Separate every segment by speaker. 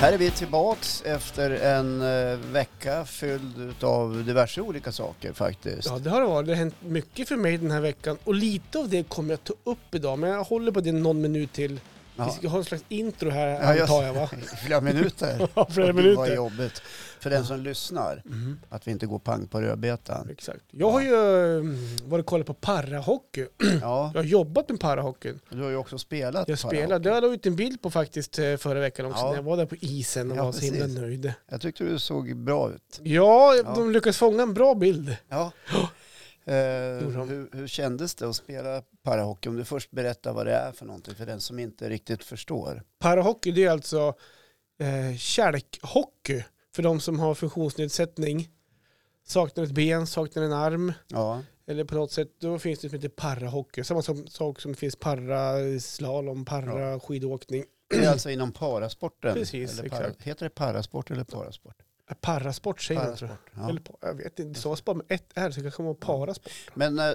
Speaker 1: Här är vi tillbaks efter en eh, vecka fylld av diverse olika saker faktiskt.
Speaker 2: Ja, det har det varit. Det har hänt mycket för mig den här veckan och lite av det kommer jag ta upp idag, men jag håller på det någon minut till. Vi
Speaker 1: Ja.
Speaker 2: ska ha en slags intro här,
Speaker 1: Ja, just-
Speaker 2: antar jag va?
Speaker 1: Flera minuter.
Speaker 2: Ja, flera
Speaker 1: Det var
Speaker 2: minuter.
Speaker 1: jobbigt för den som lyssnar
Speaker 2: Mhm,
Speaker 1: att vi inte går pang på rödbetan.
Speaker 2: Exakt. Jag har ju mm, varit och kollat på parahockey.
Speaker 1: Ja,
Speaker 2: Jag har jobbat med parahockeyn.
Speaker 1: du har ju också spelat.
Speaker 2: Jag
Speaker 1: på
Speaker 2: spelade, det har jag la ut en bild på faktiskt eh, förra veckan också
Speaker 1: Ja.
Speaker 2: när jag var där på isen och
Speaker 1: Ja,
Speaker 2: var så himla
Speaker 1: precis.
Speaker 2: nöjd.
Speaker 1: det. Jag tyckte du såg bra ut.
Speaker 2: Ja,
Speaker 1: Ja.
Speaker 2: de lyckades fånga en bra bild.
Speaker 1: Ja. Eh,
Speaker 2: Gjorde de.
Speaker 1: hur, hur kändes det att spela parahockey? Om du först berättar vad det är för någonting för den som inte riktigt förstår.
Speaker 2: Parahockey det är alltså eh, kärkhockey för de som har funktionsnedsättning. Saknar ett ben, saknar en arm
Speaker 1: Ja,
Speaker 2: eller på något sätt. Då finns det som heter parahockey. Samma som, sak som finns paraslalom, paraskidåkning.
Speaker 1: det är alltså inom parasporten.
Speaker 2: Precis,
Speaker 1: eller para,
Speaker 2: exakt.
Speaker 1: heter det parasport eller parasport?
Speaker 2: Eh, Parasport säger man tror jag.
Speaker 1: Parasport, ja.
Speaker 2: Eller, pa- jag vet inte, det sades bara med ett R så det kanske var parasport.
Speaker 1: Men eh,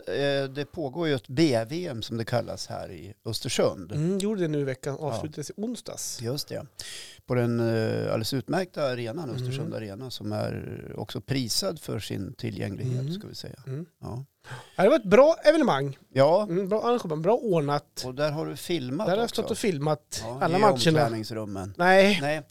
Speaker 1: det pågår ju ett BVM som det kallas här i Östersund.
Speaker 2: Mm, gjorde det nu i veckan, avslutades i onsdags.
Speaker 1: Just det. På den eh, alldeles utmärkta arenan,
Speaker 2: Mm.
Speaker 1: Östersund Arena, som är också prisad för sin tillgänglighet,
Speaker 2: Mm.
Speaker 1: ska vi säga.
Speaker 2: Mm.
Speaker 1: Ja.
Speaker 2: Ja, Det var ett bra evenemang,
Speaker 1: ja,
Speaker 2: mm, bra arrangemang, bra ordnat.
Speaker 1: och där har du filmat
Speaker 2: Där har jag
Speaker 1: också.
Speaker 2: stått och filmat
Speaker 1: ja,
Speaker 2: alla
Speaker 1: i
Speaker 2: matcherna.
Speaker 1: omklädningsrummen.
Speaker 2: Nej,
Speaker 1: Nej,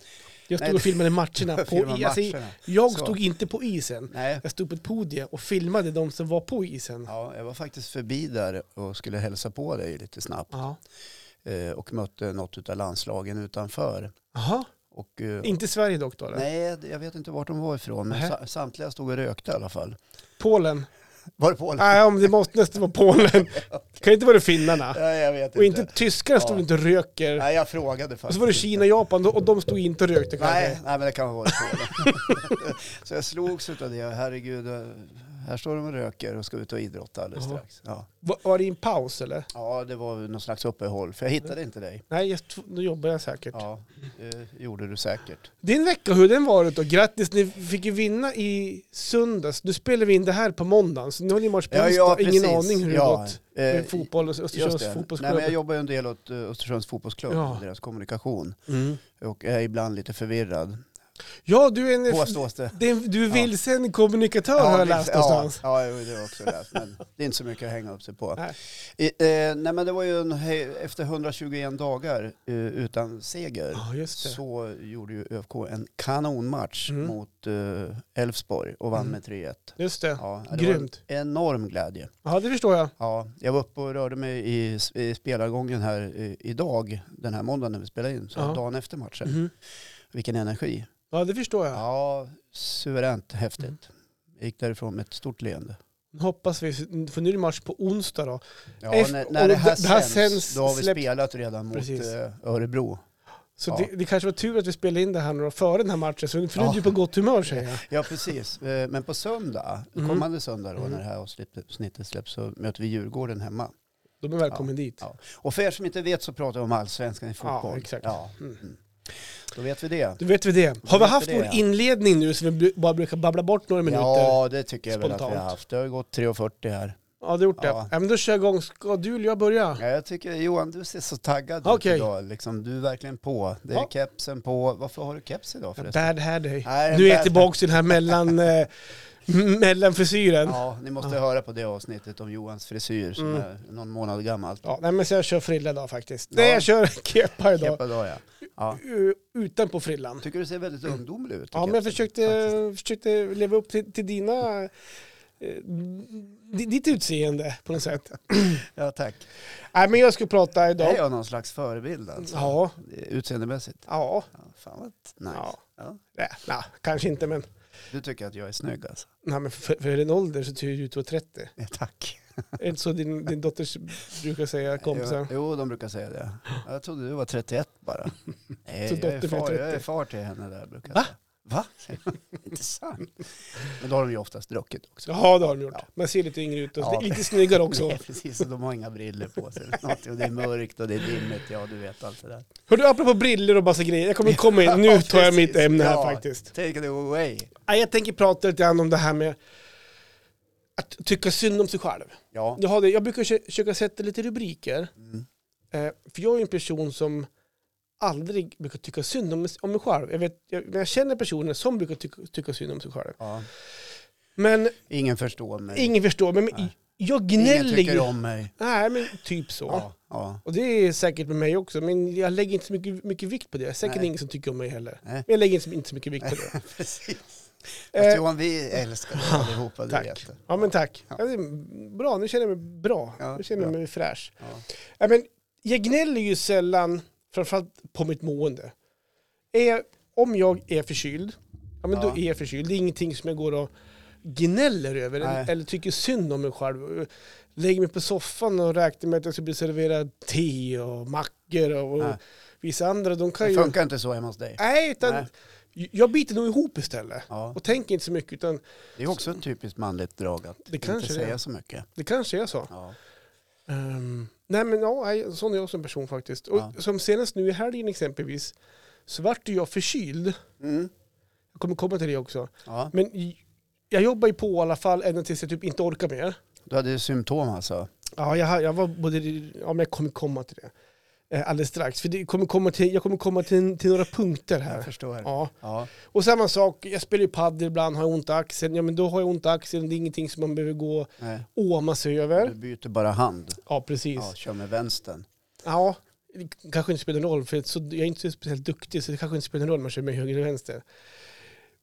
Speaker 2: Jag stod
Speaker 1: Nej,
Speaker 2: och filmade matcherna. På
Speaker 1: filma
Speaker 2: i, alltså,
Speaker 1: matcherna.
Speaker 2: jag
Speaker 1: Så.
Speaker 2: stod inte på isen.
Speaker 1: Nej.
Speaker 2: Jag stod på ett podium och filmade de som var på isen.
Speaker 1: Ja, jag var faktiskt förbi där och skulle hälsa på dig lite snabbt
Speaker 2: Ja.
Speaker 1: eh, och mötte något av landslagen utanför.
Speaker 2: Jaha,
Speaker 1: Och, eh,
Speaker 2: inte Sverige dock då? eller?
Speaker 1: nej, det- jag vet inte vart de var ifrån, men
Speaker 2: Nähä.
Speaker 1: sa- samtliga stod och rökte i alla fall.
Speaker 2: Polen?
Speaker 1: Var det Polen?
Speaker 2: Nej, om det måste nästan vara Polen. Det kan inte vara finnarna.
Speaker 1: Nej, jag vet
Speaker 2: Och inte
Speaker 1: inte.
Speaker 2: tyskarna stod
Speaker 1: Ja.
Speaker 2: inte och röker.
Speaker 1: Nej, jag frågade faktiskt.
Speaker 2: Och så var det
Speaker 1: inte.
Speaker 2: Kina och Japan och de stod inte och rökte
Speaker 1: Nej,
Speaker 2: kanske.
Speaker 1: nej, men det kan vara Polen. så jag slogs utav det. Herregud, här står de och röker och ska ut och idrotta alldeles
Speaker 2: Jaha.
Speaker 1: strax. Ja.
Speaker 2: Var, var det en paus eller?
Speaker 1: ja, det var någon slags uppehåll, för jag hittade inte dig.
Speaker 2: Nej, jag, tro- då jobbar jag säkert.
Speaker 1: Ja, det gjorde du säkert.
Speaker 2: Din vecka, hur den varit då? Grattis, ni fick ju vinna i söndags. Nu spelar vi in det här på måndagen, så nu har ni match på onsdag. Ingen aning hur det
Speaker 1: Ja,
Speaker 2: gått.
Speaker 1: eh,
Speaker 2: Med fotbollens,
Speaker 1: Just
Speaker 2: Östersunds
Speaker 1: det. Nej,
Speaker 2: fotbollsklubb.
Speaker 1: men jag jobbar ju en del åt eh, Östersunds fotbollsklubb,
Speaker 2: Ja.
Speaker 1: och deras kommunikation,
Speaker 2: Mm.
Speaker 1: och är ibland lite förvirrad.
Speaker 2: Ja, du är en...
Speaker 1: Påstås det.
Speaker 2: det är en- Du är vilsen kommunikatör har jag
Speaker 1: vi-
Speaker 2: läst
Speaker 1: ja,
Speaker 2: någonstans.
Speaker 1: Ja, jo, det har jag också läst. Men det är inte så mycket att hänga upp sig på.
Speaker 2: Nej.
Speaker 1: I, eh, nej, men det var ju en, he- efter 121 dagar eh, utan seger
Speaker 2: Ja, just det.
Speaker 1: Eh, så gjorde ju ÖFK en kanonmatch
Speaker 2: Mm.
Speaker 1: mot eh, Elfsborg och vann
Speaker 2: Mm.
Speaker 1: med 3-1.
Speaker 2: Just det.
Speaker 1: Ja, det
Speaker 2: Grymt.
Speaker 1: var en enorm glädje.
Speaker 2: Ja, det förstår jag.
Speaker 1: Ja, jag var uppe och rörde mig i, s- i spelargången här eh, idag, den här måndagen när vi spelade in, så
Speaker 2: Ja.
Speaker 1: dagen efter matchen.
Speaker 2: Mhm.
Speaker 1: Vilken energi.
Speaker 2: Ja, det förstår jag.
Speaker 1: Ja, suveränt häftigt.
Speaker 2: Mm.
Speaker 1: Gick därifrån med ett stort leende.
Speaker 2: Nu Hoppas vi, för nu är det match på onsdag då.
Speaker 1: Ja,
Speaker 2: Eff-
Speaker 1: när,
Speaker 2: och
Speaker 1: när det här,
Speaker 2: det- det här
Speaker 1: sänds,
Speaker 2: sänds
Speaker 1: då har vi
Speaker 2: släpps-
Speaker 1: spelat redan mot
Speaker 2: Precis.
Speaker 1: eh, Örebro.
Speaker 2: Så
Speaker 1: Ja.
Speaker 2: det, det kanske var tur att vi spelade in det här nu då, före den här matchen, så nu- för nu är
Speaker 1: Ja.
Speaker 2: du på gott humör säger jag.
Speaker 1: Ja, precis. Eh, Men på söndag,
Speaker 2: Mm.
Speaker 1: kommande söndag då,
Speaker 2: Mm.
Speaker 1: när det här avsnittet släpps, så möter vi Djurgården hemma.
Speaker 2: De är välkomna dit.
Speaker 1: Ja. Och för er som inte vet så pratar vi om allsvenskan i
Speaker 2: Ja,
Speaker 1: fotboll.
Speaker 2: exakt. Mm.
Speaker 1: Då vet vi det.
Speaker 2: Då vet vi det. Har vi
Speaker 1: vet vi
Speaker 2: haft
Speaker 1: det,
Speaker 2: vår
Speaker 1: ja.
Speaker 2: inledning nu som vi bru- bara brukar babbla bort några minuter? Ja,
Speaker 1: Ja, det tycker jag väl att vi har
Speaker 2: Spontant.
Speaker 1: haft. Det har ju gått 3.40 här.
Speaker 2: ja det har gjort det.
Speaker 1: Ja.
Speaker 2: Ja. men då kör jag igång. Ska du eller jag börja?
Speaker 1: Ja, jag tycker, Johan, du ser så taggad
Speaker 2: Okej.
Speaker 1: ut idag. Liksom, du är verkligen på. Det är
Speaker 2: Ja.
Speaker 1: kepsen på. Varför har du keps idag förresten?
Speaker 2: Bad hair day.
Speaker 1: Nej,
Speaker 2: Nu är
Speaker 1: bad-
Speaker 2: jag tillbaka till den här mellan, eh, m- mellanfrisyren. Ja.
Speaker 1: Ja, ni måste höra på det avsnittet om Johans frisyr som
Speaker 2: Mm.
Speaker 1: är någon månad gammalt.
Speaker 2: nej, men så jag kör frilla idag faktiskt.
Speaker 1: Ja.
Speaker 2: Nej, jag kör kepa idag.
Speaker 1: Keppa dag, ja. ja.
Speaker 2: U- Utan på frillan.
Speaker 1: Tycker du ser väldigt ungdomlig ut.
Speaker 2: Ja, men jag
Speaker 1: Kepsen,
Speaker 2: försökte,
Speaker 1: faktiskt.
Speaker 2: försökte leva upp till, till dina... eh, di- ditt utseende på något sätt.
Speaker 1: Ja, tack.
Speaker 2: Nej, men jag ska prata
Speaker 1: Är
Speaker 2: idag.
Speaker 1: jag någon slags förebild alltså?
Speaker 2: Ja,
Speaker 1: Utseendemässigt?
Speaker 2: ja,
Speaker 1: Ja, fan vad nice.
Speaker 2: ja.
Speaker 1: Ja.
Speaker 2: Nej, nej, kanske inte, men,
Speaker 1: Du tycker att jag är snygg alltså?
Speaker 2: nej, men för, för din ålder så ser du ut att vara 30.
Speaker 1: Ja, tack.
Speaker 2: Är det så din, din dotter brukar säga, kompisar?
Speaker 1: Jo, jo, de brukar säga det. Ja, Jag trodde du var 31 bara. Nej,
Speaker 2: Så
Speaker 1: jag är,
Speaker 2: dotter blev
Speaker 1: far, jag är
Speaker 2: 30.
Speaker 1: far till henne där brukar jag
Speaker 2: Va?
Speaker 1: säga. Va? Inte sant. Men då har de ju oftast druckit också.
Speaker 2: Ja, det har de gjort. Man ser lite yngre ut och
Speaker 1: Ja.
Speaker 2: lite snyggare också.
Speaker 1: Nej, precis, och de har inga briller på sig. eller någonting. Och det är mörkt och det är dimmigt, ja du vet allt det där.
Speaker 2: Hör du, apropå briller och massa grejer. Jag kommer komma in. Nu tar jag mitt ämne här
Speaker 1: Ja.
Speaker 2: faktiskt.
Speaker 1: Take it away.
Speaker 2: Ja, Jag tänker prata lite grann om det här med att tycka synd om sig själv.
Speaker 1: Ja.
Speaker 2: Jag, har det, jag brukar kö- försöka sätta lite rubriker.
Speaker 1: Mm.
Speaker 2: Eh, för jag är en person som aldrig brukar tycka synd om, om mig själv. Jag, vet, jag, jag känner personer som brukar tycka, tycka synd om sig själv.
Speaker 1: Ja.
Speaker 2: Men
Speaker 1: Ingen förstår mig.
Speaker 2: ingen förstår mig. Men
Speaker 1: Nej.
Speaker 2: jag
Speaker 1: Ingen
Speaker 2: gnäller
Speaker 1: tycker
Speaker 2: ju.
Speaker 1: om mig.
Speaker 2: Nej, men typ så.
Speaker 1: Ja. Ja.
Speaker 2: Och det är säkert med mig också, men jag lägger inte så mycket, mycket vikt på det. Säkert
Speaker 1: Nej.
Speaker 2: ingen som tycker om mig heller.
Speaker 1: Nej.
Speaker 2: Men jag lägger inte, inte så mycket vikt på det.
Speaker 1: Precis.
Speaker 2: Eh,
Speaker 1: Fast Johan, vi älskar dig allihopa, det
Speaker 2: tack.
Speaker 1: vet du.
Speaker 2: Ja men tack.
Speaker 1: Ja.
Speaker 2: Ja. det är bra, nu känner jag mig bra.
Speaker 1: Ja,
Speaker 2: nu känner jag
Speaker 1: bra.
Speaker 2: mig fräsch.
Speaker 1: Ja.
Speaker 2: Ja, men jag gnäller ju sällan, framförallt på mitt mående. Är, jag- om jag är förkyld, ja men
Speaker 1: Ja.
Speaker 2: då är jag förkyld. Det är ingenting som jag går och gnäller över
Speaker 1: Nej.
Speaker 2: eller, eller tycker synd om mig själv. Lägger mig på soffan och räknar med att jag ska bli serverad te och mackor och, och
Speaker 1: Nej.
Speaker 2: vissa andra. De kan
Speaker 1: Det
Speaker 2: ju...
Speaker 1: funkar inte så hemma hos dig.
Speaker 2: Nej, utan
Speaker 1: Nej.
Speaker 2: jag biter nog ihop istället.
Speaker 1: Ja.
Speaker 2: Och tänker inte så mycket, utan
Speaker 1: Det är också ett typiskt manligt drag att
Speaker 2: kanske
Speaker 1: inte
Speaker 2: det
Speaker 1: säga
Speaker 2: är.
Speaker 1: så mycket.
Speaker 2: det kanske är så.
Speaker 1: Ja.
Speaker 2: Ehm, nej men ja, nej, sån är jag som person faktiskt. Och
Speaker 1: Ja.
Speaker 2: som senast nu i helgen exempelvis, så vart ju jag förkyld.
Speaker 1: Mm.
Speaker 2: Jag kommer komma till det också.
Speaker 1: Ja.
Speaker 2: Men i- jag jobbar ju på i alla fall ända tills jag typ inte orkar mer.
Speaker 1: Du hade ju symptom alltså.
Speaker 2: Ja, jag, jag var både, ja men jag kommer komma till det. Eh, alldeles strax, för det kommer komma till, jag kommer komma till, till några punkter
Speaker 1: Jag
Speaker 2: här.
Speaker 1: förstår. Ja.
Speaker 2: Ja. Och samma sak, jag spelar ju padel ibland, har jag ont i axeln, ja men då har jag ont i axeln, det är ingenting som man behöver gå och
Speaker 1: Nej.
Speaker 2: åma sig
Speaker 1: Du
Speaker 2: över.
Speaker 1: byter bara hand.
Speaker 2: Ja, precis.
Speaker 1: Ja, kör med vänstern.
Speaker 2: Ja, det kanske inte spelar någon roll, för så, jag är inte så speciellt duktig så det kanske inte spelar någon roll om man kör med höger eller vänster.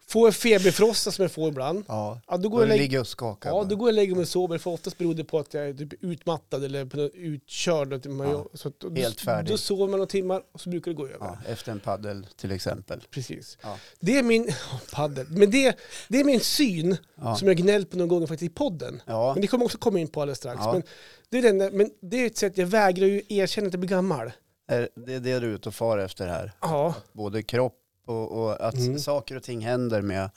Speaker 2: Får jag feberfrossa som jag får ibland,
Speaker 1: Ja.
Speaker 2: ja, då,
Speaker 1: Då
Speaker 2: går jag och lägger,
Speaker 1: ligger och skakar.
Speaker 2: ja,
Speaker 1: bara.
Speaker 2: då går jag och lägger mig och sover, för oftast beror det på att jag är typ utmattad eller på något utkörd. Att man,
Speaker 1: Ja,
Speaker 2: så att, då,
Speaker 1: helt färdig.
Speaker 2: Då sover man några timmar och så brukar det gå över.
Speaker 1: ja, efter en paddel till exempel.
Speaker 2: Precis.
Speaker 1: Ja.
Speaker 2: Det är min, paddel, men det, det är min syn
Speaker 1: Ja.
Speaker 2: som jag gnällt på någon gång faktiskt i podden.
Speaker 1: Ja.
Speaker 2: Men det kommer också komma in på alldeles strax.
Speaker 1: Ja.
Speaker 2: Men, det är den där, men det är ett sätt, jag vägrar ju erkänna att jag blir gammal.
Speaker 1: Är Det är det du är ute och far efter här.
Speaker 2: Ja.
Speaker 1: Både kropp och, och att
Speaker 2: Mm.
Speaker 1: saker och ting händer med,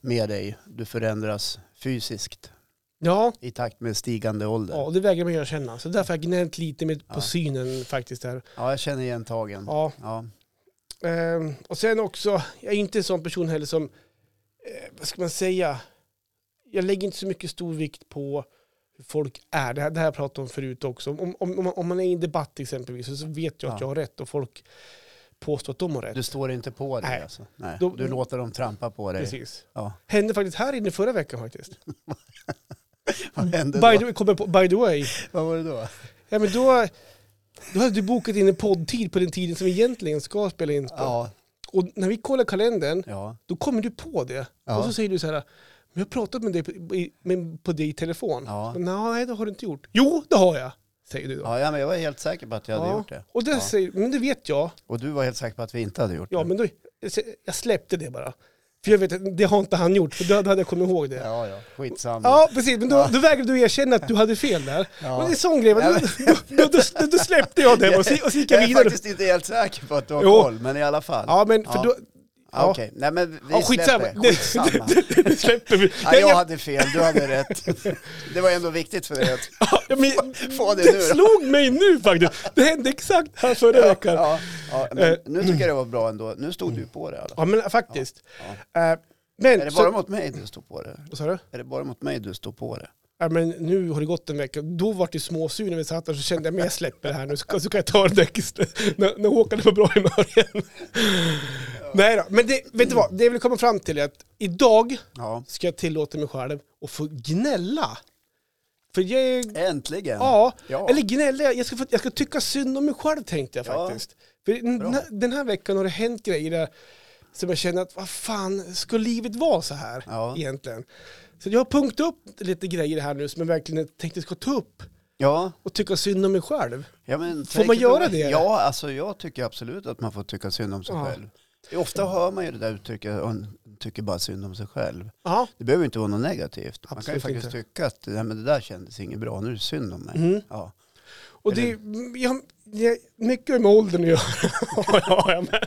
Speaker 1: med dig. Du förändras fysiskt
Speaker 2: Ja,
Speaker 1: i takt med stigande ålder.
Speaker 2: Ja,
Speaker 1: Ja,
Speaker 2: och det vägrar man göra känna. Så därför har jag gnällt lite med, på
Speaker 1: Ja.
Speaker 2: synen faktiskt. Där.
Speaker 1: jag känner igen tagen. Ja.
Speaker 2: Ja. ehm, och sen också, jag är inte en sån person heller som, eh, vad ska man säga, jag lägger inte så mycket stor vikt på hur folk är. Det här, det här pratade jag om förut också. Om, om, om, man, om man är i en debatt exempelvis så- så vet jag att
Speaker 1: Ja.
Speaker 2: jag har rätt och folk påstår att de har rätt.
Speaker 1: Du står inte på det
Speaker 2: Nej.
Speaker 1: alltså. Nej.
Speaker 2: Då-
Speaker 1: Du låter dem trampa på dig.
Speaker 2: Precis.
Speaker 1: Ja.
Speaker 2: Hände faktiskt här inne förra veckan faktiskt.
Speaker 1: Vad hände
Speaker 2: By the,
Speaker 1: då?
Speaker 2: way, kom jag på, by the way,
Speaker 1: Vad var det då?
Speaker 2: ja, men då, då hade du bokat in en poddtid på den tiden som vi egentligen ska spela in på.
Speaker 1: Ja,
Speaker 2: Och när vi kollar kalendern,
Speaker 1: ja.
Speaker 2: då kommer du på det.
Speaker 1: Ja.
Speaker 2: Och så säger du så här, men jag har pratat med dig på, i- med, på dig i telefon.
Speaker 1: Ja.
Speaker 2: Men, Nej, det har du inte gjort. Jo, det har jag, säger du då.
Speaker 1: ja, ja men jag var helt säker på att jag hade
Speaker 2: Ja.
Speaker 1: gjort det.
Speaker 2: Och det
Speaker 1: Ja. Mm.
Speaker 2: säger, men det vet jag.
Speaker 1: Och du var helt säker på att vi inte hade gjort
Speaker 2: Ja,
Speaker 1: det.
Speaker 2: men då, jag släppte det bara. För jag vet att det har inte han gjort, för då då hade jag kommit ihåg det. Ja.
Speaker 1: Ja, ja. Skitsamma.
Speaker 2: precis. Men då, då vägrade du erkänna att du hade fel där.
Speaker 1: Ja.
Speaker 2: Men det är en sån grej. men Då, då, då, då, då släppte jag det och så, och så gick jag
Speaker 1: Jag är
Speaker 2: vidare.
Speaker 1: faktiskt inte helt säker på att du har
Speaker 2: Jo.
Speaker 1: koll, men i alla fall.
Speaker 2: Ja, men för
Speaker 1: Ja.
Speaker 2: då...
Speaker 1: Ja, Okej, nej men vi
Speaker 2: Ja, skitsamma.
Speaker 1: släpper. Skitsamma.
Speaker 2: Det, det släpper vi.
Speaker 1: Ja, jag hade fel, du hade rätt. Det var ändå viktigt för dig att
Speaker 2: Ja, men,
Speaker 1: få det
Speaker 2: det
Speaker 1: nu då.
Speaker 2: slog mig nu faktiskt. Det hände exakt här förra veckan. Ja. eh,
Speaker 1: Ja, ja, men nu tycker jag det var bra ändå. Nu stod du på det i alla fall.
Speaker 2: men faktiskt. Eh, Men,
Speaker 1: Är det bara
Speaker 2: så,
Speaker 1: mot mig du stod på det?
Speaker 2: vad sa du?
Speaker 1: Är det bara mot mig du stod på det?
Speaker 2: Ja, men nu har det gått en vecka. Då vart det småsur när vi satt där så kände jag men jag släpper det här nu så, så kan jag ta det där istället. när, när Håkan var bra humör igen. Nej då, men det, vet du vad? Det jag vill komma fram till är att idag
Speaker 1: Ja.
Speaker 2: ska jag tillåta mig själv att få gnälla. För jag är
Speaker 1: Äntligen!
Speaker 2: Ja,
Speaker 1: Ja.
Speaker 2: eller gnälla. Jag ska, få, jag ska tycka synd om mig själv tänkte jag
Speaker 1: Ja.
Speaker 2: faktiskt. För den,
Speaker 1: Bra.
Speaker 2: här- den här veckan har det hänt grejer där som jag känner att vad fan, ska livet vara så här
Speaker 1: Ja.
Speaker 2: egentligen? Så jag har punkt upp lite grejer här nu som jag verkligen tänkte ska ta upp
Speaker 1: ja.
Speaker 2: och tycka synd om mig själv.
Speaker 1: Ja, men
Speaker 2: Får man
Speaker 1: take it
Speaker 2: göra
Speaker 1: away.
Speaker 2: det?
Speaker 1: Ja, alltså jag tycker absolut att man får tycka synd om sig
Speaker 2: Ja.
Speaker 1: själv. Ofta hör man ju det där uttrycket, "Hon tycker bara synd om sig själv.
Speaker 2: Ja,
Speaker 1: Det behöver inte vara något negativt. Man kan ju
Speaker 2: Absolut
Speaker 1: faktiskt
Speaker 2: inte. Mm.
Speaker 1: tycka att Nej, men det där kändes inget bra, nu är det synd om mig. Ja.
Speaker 2: och det, jag, jag, mycket har med åldern att göra. ja, ja, men.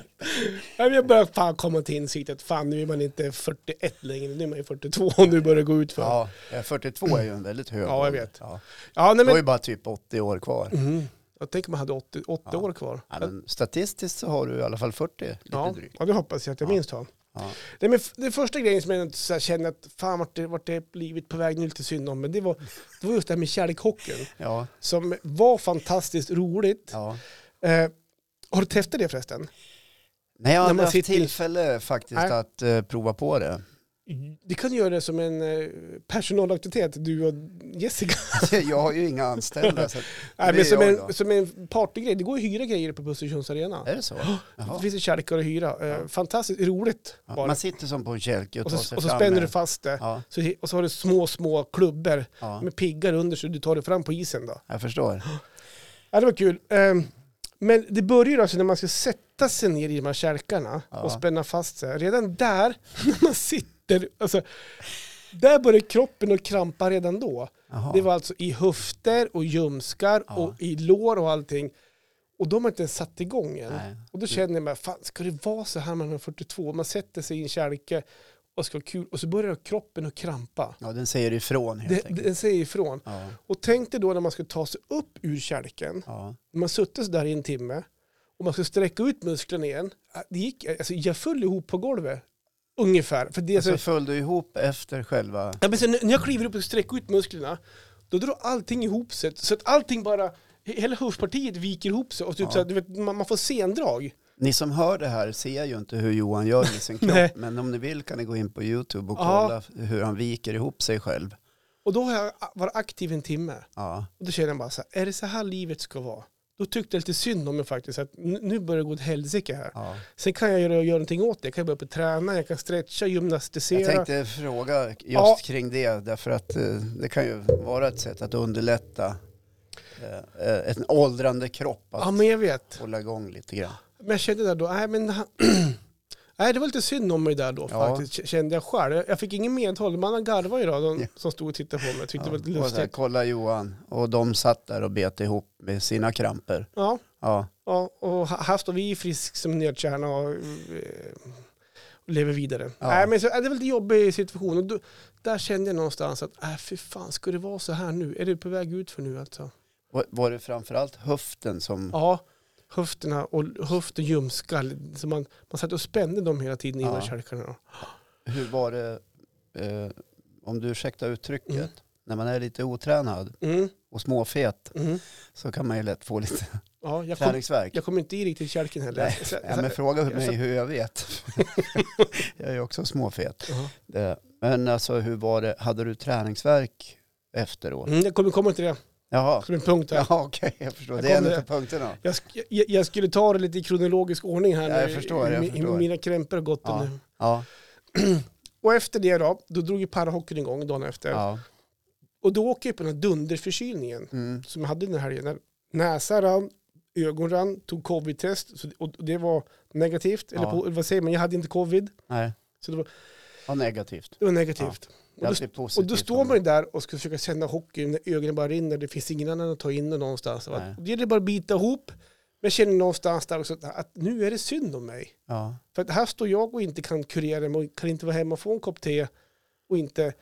Speaker 2: Ja, men Jag börjar fan komma till insikt att fan nu är man inte 41 längre, nu är man ju 42 och nu börjar det gå ut för.
Speaker 1: ja, eh, 42 är ju en väldigt hög
Speaker 2: Ja, jag
Speaker 1: ålder.
Speaker 2: vet.
Speaker 1: Ja.
Speaker 2: Ja, nej,
Speaker 1: Det
Speaker 2: men-
Speaker 1: var ju bara typ 80 år kvar.
Speaker 2: Mm. Jag tänker man hade 80, 80 år kvar.
Speaker 1: Ja, men statistiskt så har du i alla fall 40, lite
Speaker 2: Ja,
Speaker 1: drygt.
Speaker 2: ja, det hoppas jag att jag minst har.
Speaker 1: Ja.
Speaker 2: Nej, men f- den första grejen som jag så här kände att fan vart det, vart det livet på väg nu är lite synd om, men det var, det var just det här med kärlekhockeyn
Speaker 1: Ja,
Speaker 2: som var fantastiskt roligt.
Speaker 1: ja,
Speaker 2: Eh, Har du testat det förresten?
Speaker 1: Nej, jag har
Speaker 2: När
Speaker 1: aldrig
Speaker 2: man
Speaker 1: haft
Speaker 2: sitter i-
Speaker 1: tillfälle faktiskt
Speaker 2: Nej.
Speaker 1: att eh, prova på det.
Speaker 2: Det kan du göra som en eh, personalaktivitet, du och Jessica.
Speaker 1: jag har ju inga anställda. Så att, Det är
Speaker 2: Nej, men som,
Speaker 1: jag då.
Speaker 2: en, som en partygrej. Det går att hyra grejer på Östersunds arena.
Speaker 1: är det så?
Speaker 2: Det
Speaker 1: Jaha.
Speaker 2: finns kärlekar att hyra. Eh,
Speaker 1: Ja.
Speaker 2: Fantastiskt roligt
Speaker 1: Ja,
Speaker 2: bara.
Speaker 1: Man sitter som på en kälke och
Speaker 2: och,
Speaker 1: tar sig
Speaker 2: så, och så
Speaker 1: fram
Speaker 2: spänner
Speaker 1: med-
Speaker 2: du fast det.
Speaker 1: Ja,
Speaker 2: Så, och så har du små, små klubbor
Speaker 1: ja,
Speaker 2: med piggar under så du tar dig fram på isen. Då.
Speaker 1: jag förstår.
Speaker 2: Ja, det var kul. Ehm, Men det börjar ju alltså när man ska sätta sig ner i de här kärkarna
Speaker 1: Ja.
Speaker 2: och spänna fast sig. Redan där, när man sitter, alltså, där börjar kroppen att krampa redan då.
Speaker 1: Jaha.
Speaker 2: Det var alltså i höfter och ljumskar
Speaker 1: Ja.
Speaker 2: och i lår och allting. Och då har man inte ens satt igång än.
Speaker 1: Nej.
Speaker 2: Och då känner jag mig, fan ska det vara så här när man är 42? Man sätter sig i en kälke och ska ha kul och så börjar kroppen att krampa.
Speaker 1: Ja, den säger ifrån helt
Speaker 2: Det,
Speaker 1: enkelt.
Speaker 2: den säger ifrån.
Speaker 1: Ja,
Speaker 2: Och tänk dig då när man ska ta sig upp ur kälken
Speaker 1: ja,
Speaker 2: man har suttit där i en timme och man ska sträcka ut musklerna igen. Det gick, alltså jag föll ihop på golvet. Ungefär. För det är
Speaker 1: Och så
Speaker 2: så,
Speaker 1: föll du ihop efter själva...
Speaker 2: ja, men sen, när jag kliver upp och sträcker ut musklerna, då drar allting ihop sig. Så att allting bara, he- hela höftpartiet viker ihop sig. Och typ
Speaker 1: Ja.
Speaker 2: så här, du vet, man, man får sendrag.
Speaker 1: Ni som hör det här ser ju inte hur Johan gör med sin
Speaker 2: Nej.
Speaker 1: kropp, men om ni vill kan ni gå in på YouTube och
Speaker 2: Ja.
Speaker 1: kolla hur han viker ihop sig själv.
Speaker 2: Och då har jag a- varit aktiv en timme.
Speaker 1: Ja,
Speaker 2: Och då känner jag bara så här, är det så här livet ska vara? Då tyckte jag lite synd om mig faktiskt, att nu nu börjar det gå åt helsike här.
Speaker 1: ja.
Speaker 2: Sen kan jag göra, göra någonting åt det. Jag kan börja på träna, jag kan stretcha, gymnastisera.
Speaker 1: Jag tänkte fråga just
Speaker 2: Ja.
Speaker 1: kring det, därför att eh, det kan ju vara ett sätt att underlätta eh, eh, en åldrande kropp att
Speaker 2: ja, men jag vet.
Speaker 1: hålla igång lite grann.
Speaker 2: Men jag kände där då, nej men han, nej, det var lite synd om mig där då
Speaker 1: Ja.
Speaker 2: faktiskt, k- kände jag själv. Jag- Jag fick ingen medhåll, mannen garvade ju då, de
Speaker 1: Ja.
Speaker 2: som stod och tittade på mig. Jag tyckte det var lite
Speaker 1: Ja, och så här,
Speaker 2: lustigt.
Speaker 1: kolla Johan, och de satt där och bet ihop med sina kramper.
Speaker 2: Ja,
Speaker 1: Ja,
Speaker 2: ja, och ha- här står vi frisk som nötkärna och, eh, och lever vidare.
Speaker 1: Ja.
Speaker 2: Nej, men så, nej, det var lite jobbig situation. Och då, där kände jag någonstans att, nej fy fan, ska det vara så här nu? Är det på väg ut för nu alltså?
Speaker 1: och var det framförallt höften som...
Speaker 2: Ja, höfterna och höft och ljumskar. Så man, man satt och spände dem hela tiden
Speaker 1: Ja.
Speaker 2: inom kärkarna. då.
Speaker 1: Hur var det, eh, om du ursäktar uttrycket,
Speaker 2: Mm.
Speaker 1: när man är lite otränad
Speaker 2: Mm,
Speaker 1: och småfet
Speaker 2: mm.
Speaker 1: så kan man ju lätt få lite
Speaker 2: Ja, jag kom,
Speaker 1: träningsvärk.
Speaker 2: Jag kommer inte i riktigt kärken heller.
Speaker 1: Nej,
Speaker 2: Så-
Speaker 1: Ja, men
Speaker 2: så-
Speaker 1: fråga
Speaker 2: jag
Speaker 1: mig
Speaker 2: satt-
Speaker 1: hur jag vet. jag är också småfet.
Speaker 2: Ja.
Speaker 1: Det. Men alltså hur var det, hade du träningsverk efteråt?
Speaker 2: Mm, jag kommer komma till det
Speaker 1: Jaha,
Speaker 2: som en punkt här.
Speaker 1: ja, okej, jag förstår.
Speaker 2: Jag
Speaker 1: det är en
Speaker 2: kommer-
Speaker 1: av punkterna.
Speaker 2: Jag, sk- jag, jag skulle ta det lite i kronologisk ordning här
Speaker 1: Ja, jag
Speaker 2: nu,
Speaker 1: förstår, jag
Speaker 2: hur mi- hur
Speaker 1: förstår.
Speaker 2: mina krämpor har gått.
Speaker 1: Ja.
Speaker 2: under.
Speaker 1: Ja,
Speaker 2: Och efter det då, då drog ju parahockeyn igång dagen efter.
Speaker 1: ja.
Speaker 2: Och då åker jag på den här dunderförkylningen
Speaker 1: Mm.
Speaker 2: som jag hade den här helgen. Näsa rann, ögon rann, tog covid-test så det- och det var negativt. Eller
Speaker 1: Ja.
Speaker 2: på, vad säger man, jag hade inte covid.
Speaker 1: Nej,
Speaker 2: Så det var,
Speaker 1: ja, negativt.
Speaker 2: det var negativt.
Speaker 1: Det
Speaker 2: Och då
Speaker 1: blir positivt.
Speaker 2: Och då står man ju där och ska försöka sända hockey när ögonen bara rinner. Det finns ingen annan att ta in det någonstans.
Speaker 1: Nej.
Speaker 2: Och det gäller bara att bita ihop. Men jag känner någonstans där också att- att nu är det synd om mig.
Speaker 1: Ja,
Speaker 2: För att här står jag och inte kan kurera mig och kan inte vara hemma och få en kopp te och inte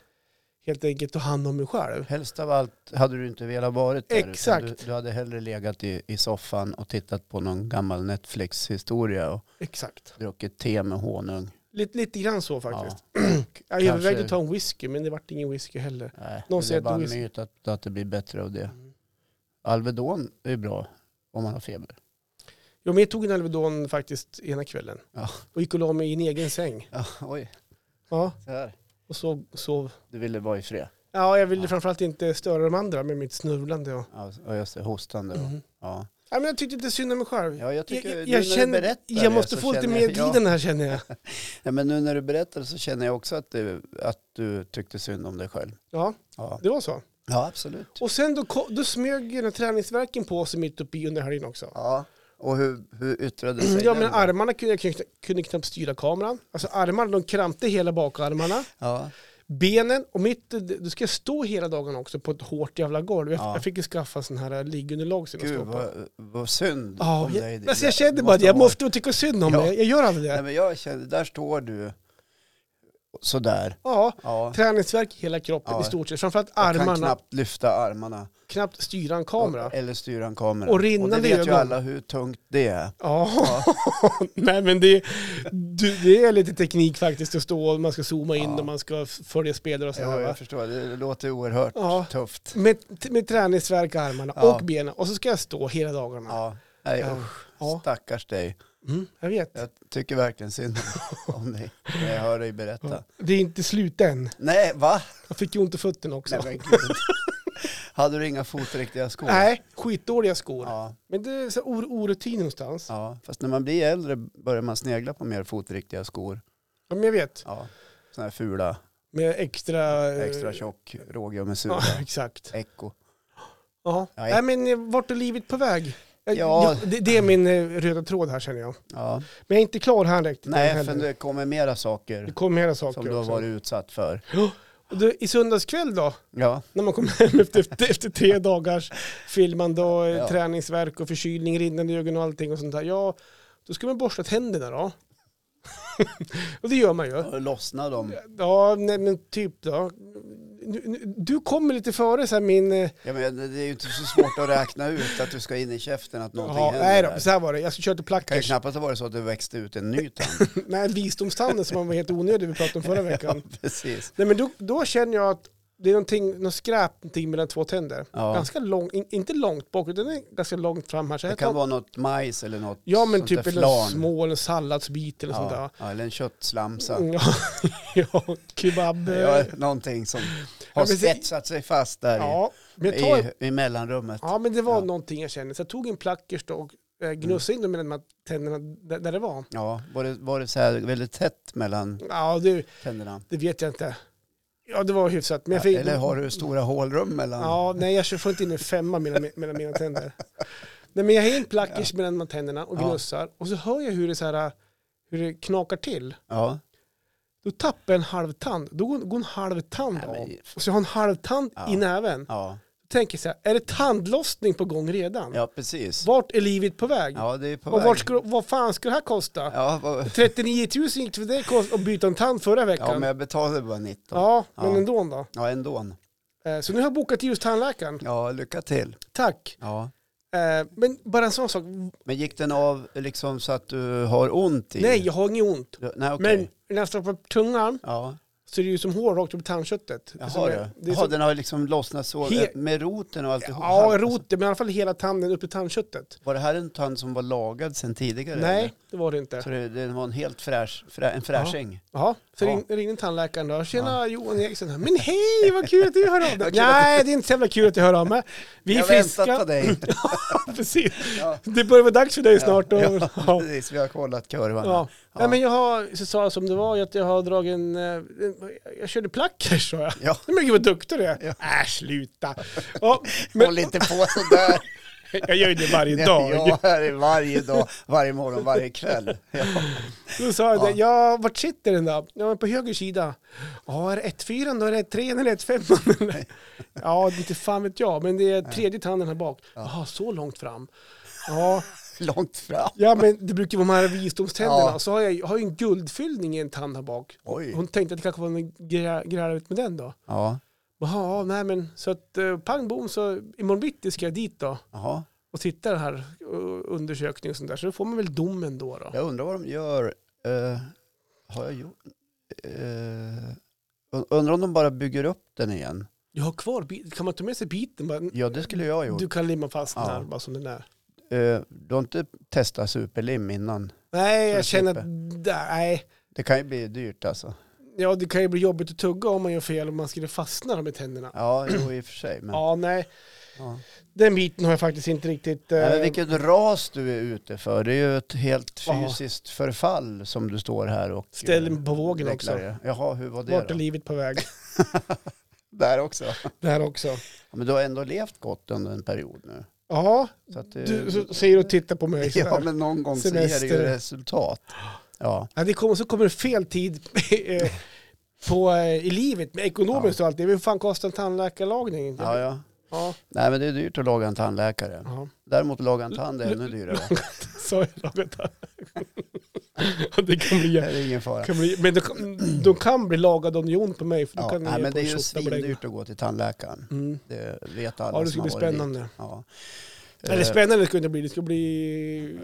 Speaker 2: helt enkelt ta hand om mig själv.
Speaker 1: helst av allt hade du inte velat varit där. utan
Speaker 2: Exakt.
Speaker 1: Du, du hade hellre legat i, i soffan och tittat på någon gammal Netflix-historia och
Speaker 2: Exakt.
Speaker 1: druckit te med honung.
Speaker 2: Lite, lite grann så
Speaker 1: Ja.
Speaker 2: faktiskt. jag övervägde
Speaker 1: kanske-
Speaker 2: att ta en whisky men det vart ingen whisky heller.
Speaker 1: Nej,
Speaker 2: Någon
Speaker 1: det
Speaker 2: säger
Speaker 1: är
Speaker 2: att
Speaker 1: bara en
Speaker 2: whisky-
Speaker 1: myt att, att det blir bättre av det. Alvedon är bra om man har feber.
Speaker 2: Jo, men jag tog en Alvedon faktiskt ena kvällen.
Speaker 1: Ja.
Speaker 2: Och gick och la mig i en egen säng.
Speaker 1: Ja, oj,
Speaker 2: Ja,
Speaker 1: så här.
Speaker 2: och sov, sov
Speaker 1: Du ville vara i fred.
Speaker 2: Ja, jag ville
Speaker 1: Ja.
Speaker 2: framförallt inte störa de andra med mitt snurrande. Och...
Speaker 1: Ja, och just det, hostande. då.
Speaker 2: Mm.
Speaker 1: Ja.
Speaker 2: Ja, men jag tyckte lite synd om mig själv.
Speaker 1: Ja, jag tycker,
Speaker 2: jag,
Speaker 1: nu när
Speaker 2: jag,
Speaker 1: du
Speaker 2: känner,
Speaker 1: berättar
Speaker 2: jag
Speaker 1: det
Speaker 2: måste
Speaker 1: så
Speaker 2: få lite
Speaker 1: känner
Speaker 2: mer
Speaker 1: jag-
Speaker 2: tid
Speaker 1: ja.
Speaker 2: den här känner jag.
Speaker 1: Nej, men nu när du berättar så känner jag också att du, att du tyckte synd om dig själv.
Speaker 2: Ja,
Speaker 1: Ja,
Speaker 2: det var så.
Speaker 1: ja absolut.
Speaker 2: Och sen då, ko- då smög ju den här träningsverken på sig mitt uppe i under helgen också.
Speaker 1: Ja. Och hur, hur yttrade sig
Speaker 2: Ja,
Speaker 1: den
Speaker 2: men
Speaker 1: då?
Speaker 2: armarna kunde jag kunde, kunde knappt styra kameran. Alltså armarna, de krampte hela bakarmarna.
Speaker 1: Ja,
Speaker 2: Benen och mitt, då ska jag stå hela dagen också på ett hårt jävla golv. Jag,
Speaker 1: Ja.
Speaker 2: jag fick ju skaffa sån här eh, liggunderlag sen att
Speaker 1: gud
Speaker 2: stå på.
Speaker 1: vad, vad synd
Speaker 2: Ja,
Speaker 1: om dig.
Speaker 2: jag, alltså jag
Speaker 1: Du
Speaker 2: kände bara att jag
Speaker 1: ha varit-
Speaker 2: måste tycka synd om
Speaker 1: Ja.
Speaker 2: mig. Jag gör aldrig
Speaker 1: Nej,
Speaker 2: det.
Speaker 1: men jag kände, där står du sådär.
Speaker 2: Ja,
Speaker 1: Ja.
Speaker 2: Träningsvärk i hela kroppen
Speaker 1: Ja.
Speaker 2: i stort sett. Framförallt
Speaker 1: Jag
Speaker 2: armarna.
Speaker 1: kan
Speaker 2: Knappt...
Speaker 1: knappt lyfta armarna.
Speaker 2: styra en kamera.
Speaker 1: Och- Eller styra en kamera.
Speaker 2: Och rinnande
Speaker 1: det vet ju
Speaker 2: ögon.
Speaker 1: alla hur tungt det är.
Speaker 2: Ja, nej men det, du, det är lite teknik faktiskt att stå och man ska zooma in
Speaker 1: Ja.
Speaker 2: och man ska f- följa spelare och
Speaker 1: Ja,
Speaker 2: sådär. va?
Speaker 1: jag förstår, det låter oerhört
Speaker 2: Ja.
Speaker 1: tufft.
Speaker 2: Med, med träningsvärk i armarna
Speaker 1: Ja.
Speaker 2: och benen och så ska jag stå hela dagarna.
Speaker 1: Ja. Nej,
Speaker 2: Ja.
Speaker 1: usch.
Speaker 2: Ja.
Speaker 1: Stackars dig.
Speaker 2: Mm, jag vet.
Speaker 1: Jag tycker verkligen synd om dig när jag hör dig berätta.
Speaker 2: Det är inte slut än.
Speaker 1: Nej, va?
Speaker 2: Jag fick ju ont i fötterna också.
Speaker 1: Nej,
Speaker 2: Nej,
Speaker 1: men gud. Hade du inga fotriktiga skor?
Speaker 2: skitdåliga skor.
Speaker 1: Ja,
Speaker 2: Men det är så här or- orutin någonstans. Ja.
Speaker 1: ja, fast när man blir äldre börjar man snegla på mer fotriktiga skor.
Speaker 2: men jag vet.
Speaker 1: Ja, sådana här fula,
Speaker 2: Med extra... eh,
Speaker 1: extra tjock, rågiga med sula.
Speaker 2: Ja, exakt.
Speaker 1: Eko.
Speaker 2: Ja.
Speaker 1: Nej.
Speaker 2: Nej, men eh, vart är livet på väg? Eh,
Speaker 1: Ja.
Speaker 2: det, det är min eh, röda tråd här känner jag.
Speaker 1: Ja.
Speaker 2: Men jag är inte klar här riktigt. än
Speaker 1: Nej,
Speaker 2: heller.
Speaker 1: för det kommer mera saker
Speaker 2: det kommer hela saker
Speaker 1: som du har
Speaker 2: också.
Speaker 1: varit utsatt för.
Speaker 2: Och då, I söndagskväll då,
Speaker 1: Ja,
Speaker 2: när man kom hem efter, efter, efter tre dagars filmande och
Speaker 1: Ja.
Speaker 2: ja. träningsverk och förkylning, rinnande ögon och allting och sånt där. Ja, då ska man borsta tänderna då. och det gör man ju.
Speaker 1: och lossna dem.
Speaker 2: Ja, nej, men typ då. Nu- nu- Du kommer lite före så här min... eh,
Speaker 1: Ja, men det är ju inte så svårt att räkna ut att du ska in i käften att någonting
Speaker 2: Ja,
Speaker 1: händer
Speaker 2: nej
Speaker 1: där.
Speaker 2: då, så här var det. Jag körde
Speaker 1: kan ju
Speaker 2: plackers.
Speaker 1: knappast ha varit så att du växte ut en ny tand.
Speaker 2: Nej, visdomstanden som var helt onödig vi pratade om förra veckan.
Speaker 1: Precis.
Speaker 2: Nej, men då, då känner jag att det är någonting, något skräp någonting mellan två tänder.
Speaker 1: Ja.
Speaker 2: Ganska långt, in, inte långt bak, utan det är ganska långt fram här. Så
Speaker 1: Det
Speaker 2: här
Speaker 1: kan
Speaker 2: tar-
Speaker 1: vara något majs eller något
Speaker 2: Ja men
Speaker 1: sånt
Speaker 2: typ
Speaker 1: där
Speaker 2: en små eller salladsbit eller sånt där.
Speaker 1: ja. ja, eller en köttslamsa.
Speaker 2: Mm, Ja, ja kebab.
Speaker 1: Ja,
Speaker 2: Ja,
Speaker 1: någonting som har
Speaker 2: men det-
Speaker 1: svetsat sig fast där i,
Speaker 2: men jag tar,
Speaker 1: i, i mellanrummet.
Speaker 2: ja, men det var
Speaker 1: Ja. Mm.
Speaker 2: någonting jag kände. Så jag tog en plackers då och eh, gnussade in dem med de här tänderna där, där det var.
Speaker 1: Ja, var det, var det så här väldigt tätt mellan
Speaker 2: Ja, det,
Speaker 1: tänderna?
Speaker 2: det vet jag inte. Ja, det var hyfsat. Men jag fick,
Speaker 1: Eller har du stora hålrum mellan?
Speaker 2: Ja, nej jag får inte in en femma mellan, mellan mina tänder. Nej, men jag har en plackers mellan de här tänderna och
Speaker 1: Ja.
Speaker 2: gnussar. Och så hör jag hur det, så här, hur det knakar till.
Speaker 1: Ja.
Speaker 2: Då tappar jag en halv tand. Då går, går en halv tand
Speaker 1: Nej, men-
Speaker 2: av. Och så har jag en halv tand
Speaker 1: Ja.
Speaker 2: i näven.
Speaker 1: Ja,
Speaker 2: Då tänker jag så här, är det tandlossning på gång redan?
Speaker 1: ja precis.
Speaker 2: Vart är livet på väg?
Speaker 1: Ja, det är på
Speaker 2: och
Speaker 1: väg.
Speaker 2: vart ska, vad fan ska det här kosta?
Speaker 1: Ja, vad-
Speaker 2: 39 000 gick det för dig kost- att byta en tand förra veckan.
Speaker 1: ja, men jag betalade bara 19. Ja,
Speaker 2: Ja, men
Speaker 1: Ja.
Speaker 2: ändå då.
Speaker 1: ändå.
Speaker 2: Eh, Så nu har jag bokat just tandläkaren.
Speaker 1: Ja, lycka till.
Speaker 2: Tack.
Speaker 1: Ja.
Speaker 2: Eh, Men bara en sån sak.
Speaker 1: Men gick den av liksom så att du har ont i?
Speaker 2: Nej, jag har inget ont.
Speaker 1: Du- Nej, okej.
Speaker 2: Men när jag stoppar upp tungan
Speaker 1: Ja,
Speaker 2: så är det ju som hår rakt upp i tandköttet. Det är som-
Speaker 1: jaha du.
Speaker 2: det är
Speaker 1: Jaha,
Speaker 2: som,
Speaker 1: den har liksom lossnat så
Speaker 2: He-
Speaker 1: med roten och alltihop.
Speaker 2: ja, roten, men i alla fall hela tanden upp i tandköttet.
Speaker 1: Var det här en tand som var lagad sedan tidigare?
Speaker 2: Nej,
Speaker 1: eller?
Speaker 2: det var det inte.
Speaker 1: Så det, det var en helt fräsch, frä, en fräsching?
Speaker 2: Jaha, så
Speaker 1: Ja.
Speaker 2: ring, ringde tandläkaren då. Tjena Johan Eriksson här. Men hej, vad kul att du hör av dig. Nej, det är inte så jävla kul att du hör av mig. Vi är
Speaker 1: jag
Speaker 2: friska.
Speaker 1: väntat på dig.
Speaker 2: Precis.
Speaker 1: Ja.
Speaker 2: Det börjar vara dags för dig snart. Och,
Speaker 1: Ja,
Speaker 2: ja.
Speaker 1: precis. Vi har kollat kurvan.
Speaker 2: Ja.
Speaker 1: Ja.
Speaker 2: Nej, men jag har, så sa jag som det var, att jag har dragit en, eh, en jag körde plackers sa jag.
Speaker 1: Ja.
Speaker 2: Men gud vad duktig du är. Äh, sluta. Ja, men
Speaker 1: Håll inte på sådär.
Speaker 2: jag gör ju det varje dag.
Speaker 1: Ja, här är varje dag, varje morgon, varje kväll. Ja.
Speaker 2: Då sa jag det, ja, vart sitter den då? Ja, men på höger sida. Ja, är det 1-4 då? Är det 3 eller 1-5? Ja, inte fan vet jag, men det är tredje tanden här bak. Jaha, så långt fram. Ja,
Speaker 1: Långt fram.
Speaker 2: ja men det brukar ju vara de här visdomständerna.
Speaker 1: Ja.
Speaker 2: Så har jag ju- har ju en guldfyllning i en tand här bak.
Speaker 1: Oj.
Speaker 2: Hon tänkte att det kanske var någon grä- gräla ut med den då.
Speaker 1: Ja,
Speaker 2: Jaha, nej men så att eh, pang bom så imorgon bitti ska jag dit då
Speaker 1: jaha.
Speaker 2: och titta den här eh, undersökningen och sånt där. Så då får man väl domen då. då.
Speaker 1: Jag undrar vad de gör. Eh, har jag gjort? eh, und- undrar om de bara bygger upp den igen.
Speaker 2: Jag har kvar biten, kan man ta med sig biten? Bara,
Speaker 1: Ja, det skulle jag ha gjort.
Speaker 2: Du kan limma fast den
Speaker 1: Ja.
Speaker 2: här bara som den är.
Speaker 1: Eh, du har inte testat superlim innan.
Speaker 2: Nej,
Speaker 1: För
Speaker 2: jag
Speaker 1: att
Speaker 2: känner
Speaker 1: slippa.
Speaker 2: att där, nej.
Speaker 1: Det kan ju bli dyrt alltså.
Speaker 2: Ja, det kan ju bli jobbigt att tugga om man gör fel om man skulle fastna med tänderna. Ja,
Speaker 1: Ja, jo, i och för sig. Men,
Speaker 2: nej.
Speaker 1: ja.
Speaker 2: Den biten har jag faktiskt inte riktigt... Eh,
Speaker 1: Nej, men vilket ras du är ute för. Det är ju ett helt
Speaker 2: Ja.
Speaker 1: fysiskt förfall som du står här och
Speaker 2: Ställ
Speaker 1: eh,
Speaker 2: mig på vågen också.
Speaker 1: deklarerar. Jaha, hur var det
Speaker 2: Vart är
Speaker 1: då?
Speaker 2: livet på väg?
Speaker 1: Där också.
Speaker 2: Där också.
Speaker 1: Ja, men du har ändå levt gott under en period nu.
Speaker 2: Ja,
Speaker 1: Så att det,
Speaker 2: du så, säger och tittar på mig sådär.
Speaker 1: Eh, ja, men någon gång så ger det ju
Speaker 2: Semester.
Speaker 1: resultat. Ja,
Speaker 2: Ja, det kommer, så kommer det fel tid eh, på, eh, i livet med ekonomiskt och allt det. Hur fan kostar en tandläkarlagning?
Speaker 1: ja, ja.
Speaker 2: ja.
Speaker 1: Nej, men det är dyrt att laga en tandläkare.
Speaker 2: ja.
Speaker 1: Däremot att laga en tand är ännu dyrare.
Speaker 2: Så jag lagar tandläkarlagning. Ja, det kan bli,
Speaker 1: Det är ingen fara.
Speaker 2: kan bli men de, kan- de kan bli lagade om det gör ont på mig. För då
Speaker 1: Ja,
Speaker 2: kan
Speaker 1: nej,
Speaker 2: ge
Speaker 1: men
Speaker 2: på
Speaker 1: det är ju
Speaker 2: 28 på den.
Speaker 1: svindyrt att gå till tandläkaren.
Speaker 2: Mm.
Speaker 1: Det vet alla
Speaker 2: Ja,
Speaker 1: som
Speaker 2: det ska
Speaker 1: har varit dit.
Speaker 2: bli spännande.
Speaker 1: Ja.
Speaker 2: Eller
Speaker 1: Eh,
Speaker 2: spännande ska det inte bli, det ska bli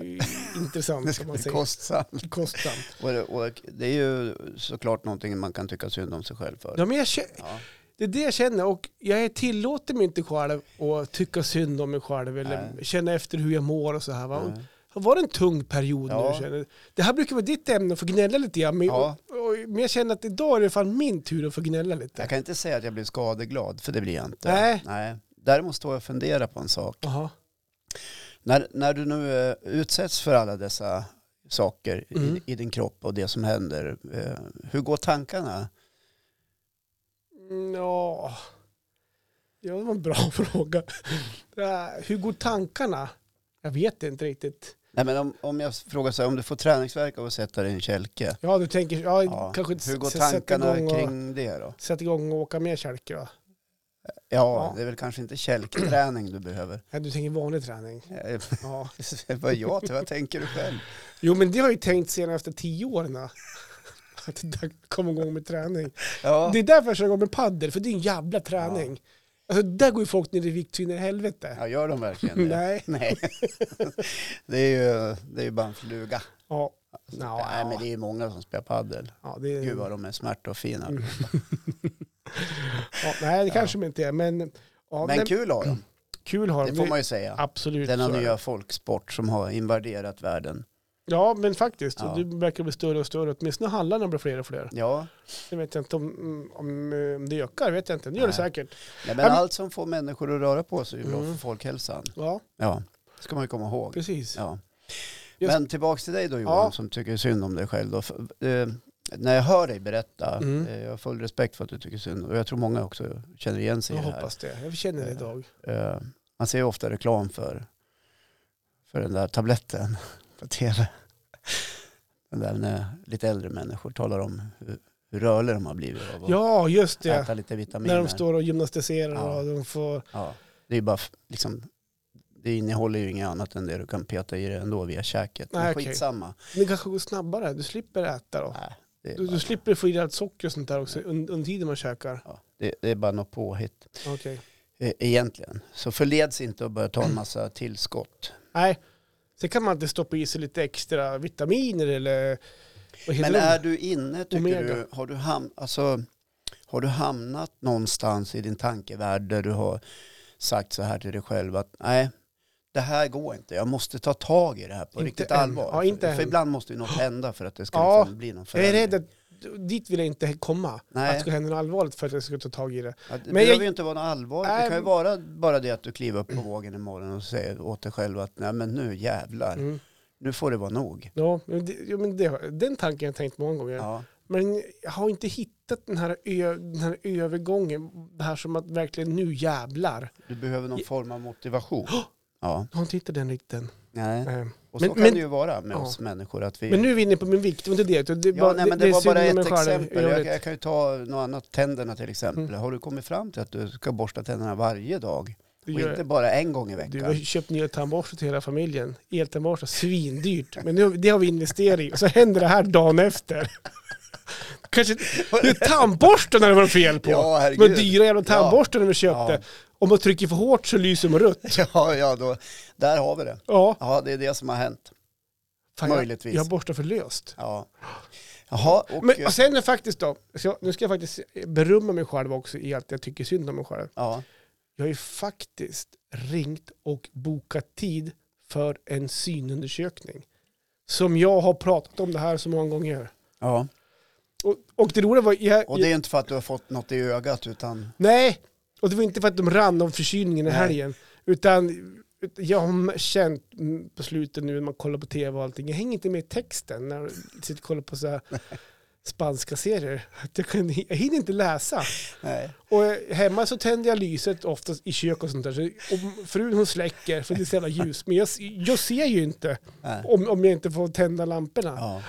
Speaker 1: Det
Speaker 2: intressant.
Speaker 1: ska
Speaker 2: Som man
Speaker 1: bli
Speaker 2: säger.
Speaker 1: kostsamt.
Speaker 2: Kostsamt.
Speaker 1: Och det, och det är ju såklart någonting man kan tycka synd om sig själv för.
Speaker 2: Ja, men jag kä-
Speaker 1: Ja.
Speaker 2: det är det jag känner och jag tillåter mig inte själv att tycka synd om mig själv eller
Speaker 1: Nej.
Speaker 2: känna efter hur jag mår och så här. Va?
Speaker 1: Nej.
Speaker 2: var det en tung period
Speaker 1: Ja.
Speaker 2: nu känner du? Det här brukar vara ditt ämne att få gnälla lite grann. Men,
Speaker 1: Ja.
Speaker 2: och, och, men jag känner att idag är det fan min tur att få gnälla lite.
Speaker 1: Jag kan inte säga att jag blir skadeglad, för det blir jag inte.
Speaker 2: Nej.
Speaker 1: Nej. Däremot står jag och funderar på en sak.
Speaker 2: Jaha.
Speaker 1: När, när du nu eh, utsätts för alla dessa saker
Speaker 2: Mm.
Speaker 1: i, i din kropp och det som händer, eh, hur går tankarna?
Speaker 2: Mm, Ja. ja, det var en bra fråga. Ja, Hur går tankarna? Jag vet inte riktigt.
Speaker 1: Nej, men om, om jag frågar så här, om du får träningsvärk av att sätta dig i en kälke,
Speaker 2: Ja, du tänker, ja,
Speaker 1: ja,
Speaker 2: kanske
Speaker 1: hur går
Speaker 2: s- s- sätta
Speaker 1: tankarna
Speaker 2: igång och-
Speaker 1: kring det då?
Speaker 2: Sätta igång och åka mer kälke va?
Speaker 1: Ja,
Speaker 2: Ja.
Speaker 1: det är väl kanske inte kälkträning du behöver.
Speaker 2: Ja, du tänker vanlig träning.
Speaker 1: Eh,
Speaker 2: Ja.
Speaker 1: Vad jag vad tänker du själv?
Speaker 2: Jo, men det har jag ju tänkt sen efter tio åren. va? Att det där kommer igång med träning.
Speaker 1: Ja,
Speaker 2: Det är därför jag kör igång med paddel, för det är en jävla träning. Alltså där går ju folk ner i vikt så in i helvete.
Speaker 1: ja gör de verkligen det?
Speaker 2: Nej.
Speaker 1: Nej. Det är ju, det är ju bara en fluga.
Speaker 2: Ja.
Speaker 1: Alltså, Nej,
Speaker 2: Ja,
Speaker 1: men det
Speaker 2: ja.
Speaker 1: är ju många som spelar paddel.
Speaker 2: ja, det är...
Speaker 1: Gud vad de är smarta och fina.
Speaker 2: Mm. Ja, nej, det kanske de inte är, men, ja,
Speaker 1: Men
Speaker 2: men
Speaker 1: kul har de,
Speaker 2: kul har
Speaker 1: det
Speaker 2: de.
Speaker 1: får man ju säga.
Speaker 2: Absolut.
Speaker 1: Denna
Speaker 2: så är det.
Speaker 1: nya folksport som har invaderat världen.
Speaker 2: Ja, men faktiskt.
Speaker 1: Ja.
Speaker 2: Och det verkar bli större och större. Åtminstone hallarna blir fler och fler.
Speaker 1: Ja,
Speaker 2: Det vet jag inte om, om, om det ökar, vet jag inte. Det gör det
Speaker 1: Nej.
Speaker 2: säkert.
Speaker 1: Nej, men
Speaker 2: men-
Speaker 1: allt som får människor att röra på sig är ju bra
Speaker 2: Mm.
Speaker 1: för folkhälsan.
Speaker 2: Ja,
Speaker 1: Ja, det ska man ju komma ihåg.
Speaker 2: precis.
Speaker 1: Ja.
Speaker 2: Just-
Speaker 1: Men tillbaks till dig då Johan
Speaker 2: Ja.
Speaker 1: som tycker synd om dig själv. Då. F- eh, När jag hör dig berätta,
Speaker 2: Mm.
Speaker 1: eh, jag har full respekt för att du tycker synd och jag tror många också känner igen sig
Speaker 2: Jag
Speaker 1: i det här.
Speaker 2: hoppas det. Jag känner det
Speaker 1: Eh,
Speaker 2: idag.
Speaker 1: Eh, Man ser ju ofta reklam för, för den där tabletten på tv. Den där när lite äldre människor talar om hur, hur rörliga de har blivit av att
Speaker 2: Ja, just det.
Speaker 1: äta lite vitaminer.
Speaker 2: När de står och gymnastiserar
Speaker 1: Ja.
Speaker 2: och de får...
Speaker 1: ja, det är ju bara f- liksom, det innehåller ju inget annat än det du kan peta i det ändå via käket.
Speaker 2: Nej,
Speaker 1: Men
Speaker 2: okej.
Speaker 1: skitsamma.
Speaker 2: Det kanske går snabbare. Du slipper äta då.
Speaker 1: Nej, det, är
Speaker 2: Du,
Speaker 1: bara,
Speaker 2: du slipper få i dig allt socker och sånt där också un- under tiden man käkar.
Speaker 1: ja, det, det är bara något påhitt
Speaker 2: Okej.
Speaker 1: e- egentligen. Så förleds inte att börja ta en massa tillskott.
Speaker 2: Nej. Sen kan man alltid stoppa i sig lite extra vitaminer eller... Vad heter
Speaker 1: Men
Speaker 2: det?
Speaker 1: är du inne, tycker
Speaker 2: Omega.
Speaker 1: du, har du, ham, alltså, har du hamnat någonstans i din tankevärld där du har sagt så här till dig själv att nej, det här går inte. Jag måste ta tag i det här på
Speaker 2: Inte
Speaker 1: riktigt
Speaker 2: än.
Speaker 1: allvar.
Speaker 2: Ja, inte
Speaker 1: för, för
Speaker 2: än.
Speaker 1: ibland måste ju något hända för att det ska
Speaker 2: Ja,
Speaker 1: liksom bli någon
Speaker 2: Jag är
Speaker 1: förändring.
Speaker 2: rädd att dit vill jag inte komma.
Speaker 1: Nej.
Speaker 2: Att det ska hända något allvarligt för att jag ska ta tag i det.
Speaker 1: Ja, det
Speaker 2: Men
Speaker 1: behöver
Speaker 2: jag-
Speaker 1: ju inte vara något allvarligt. Det
Speaker 2: Nej,
Speaker 1: kan ju
Speaker 2: men-
Speaker 1: vara bara det att du kliver upp på vågen imorgon och säger åt dig själv att nej men nu jävlar,
Speaker 2: Mm.
Speaker 1: nu får det vara nog.
Speaker 2: Ja, men det, jo, men det, den tanken har jag tänkt många gånger.
Speaker 1: Ja,
Speaker 2: Men jag har inte hittat den här, ö, den här övergången. Det här som att verkligen nu jävlar.
Speaker 1: du behöver någon form av motivation. Ja,
Speaker 2: Jag har inte hittat den riktigt än.
Speaker 1: nej.
Speaker 2: Nej.
Speaker 1: Och så
Speaker 2: Men-
Speaker 1: kan
Speaker 2: men-
Speaker 1: det ju vara med
Speaker 2: ja.
Speaker 1: oss människor. Att vi,
Speaker 2: Men nu är vi inne på min vikt. Det, var inte det, utan det, är
Speaker 1: ja,
Speaker 2: bara-
Speaker 1: nej, men det,
Speaker 2: är
Speaker 1: var
Speaker 2: synd
Speaker 1: bara
Speaker 2: om
Speaker 1: ett
Speaker 2: mig själv i
Speaker 1: exempel. Jag,
Speaker 2: övrigt.
Speaker 1: jag kan ju ta något annat, tänderna till exempel.
Speaker 2: Mm.
Speaker 1: Har du kommit fram till att du ska borsta tänderna varje dag?
Speaker 2: Du
Speaker 1: Och
Speaker 2: gör-
Speaker 1: inte bara en gång i
Speaker 2: Du har
Speaker 1: veckan?
Speaker 2: ju köpt nya tandborstar till hela familjen. Eltandborstar, svindyrt. Men nu, det har vi investerat i. Och så händer det här dagen efter. Kanske, det är tandborstarna det var fel på.
Speaker 1: Ja,
Speaker 2: de
Speaker 1: herregud.
Speaker 2: dyra jävla tandborstarna vi köpte.
Speaker 1: Ja.
Speaker 2: Om man trycker för hårt så lyser de rött.
Speaker 1: Ja, ja då, där har vi det.
Speaker 2: Ja,
Speaker 1: Ja, det är det som har hänt.
Speaker 2: fan, jag,
Speaker 1: Möjligtvis.
Speaker 2: jag borstar för löst.
Speaker 1: Ja. Jaha, och,
Speaker 2: Men, alltså- och sen är faktiskt då, så jag- nu ska jag faktiskt berömma mig själv också i allt jag tycker synd om mig själv.
Speaker 1: ja.
Speaker 2: Jag har ju faktiskt ringt och bokat tid för en synundersökning. Som jag har pratat om det här så många gånger.
Speaker 1: Ja.
Speaker 2: Och, och det roliga var... Jag,
Speaker 1: Och det är ju inte för att du har fått något i ögat utan...
Speaker 2: Nej, och det var inte för att de rann om förkylningen i
Speaker 1: Nej.
Speaker 2: helgen. Utan ut- jag har känt mm, på slutet nu när man kollar på tv och allting, jag hänger inte med i texten när jag sitter och kollar på så här spanska serier. Att jag, kan, jag hinner inte läsa.
Speaker 1: Nej.
Speaker 2: Och eh, hemma så tänder jag lyset oftast i kök och sånt där. Så, och frun hon släcker för det är så jävla ljus. Men jag, s- jag ser ju inte
Speaker 1: Nej.
Speaker 2: om, om jag inte får tända lamporna.
Speaker 1: Ja.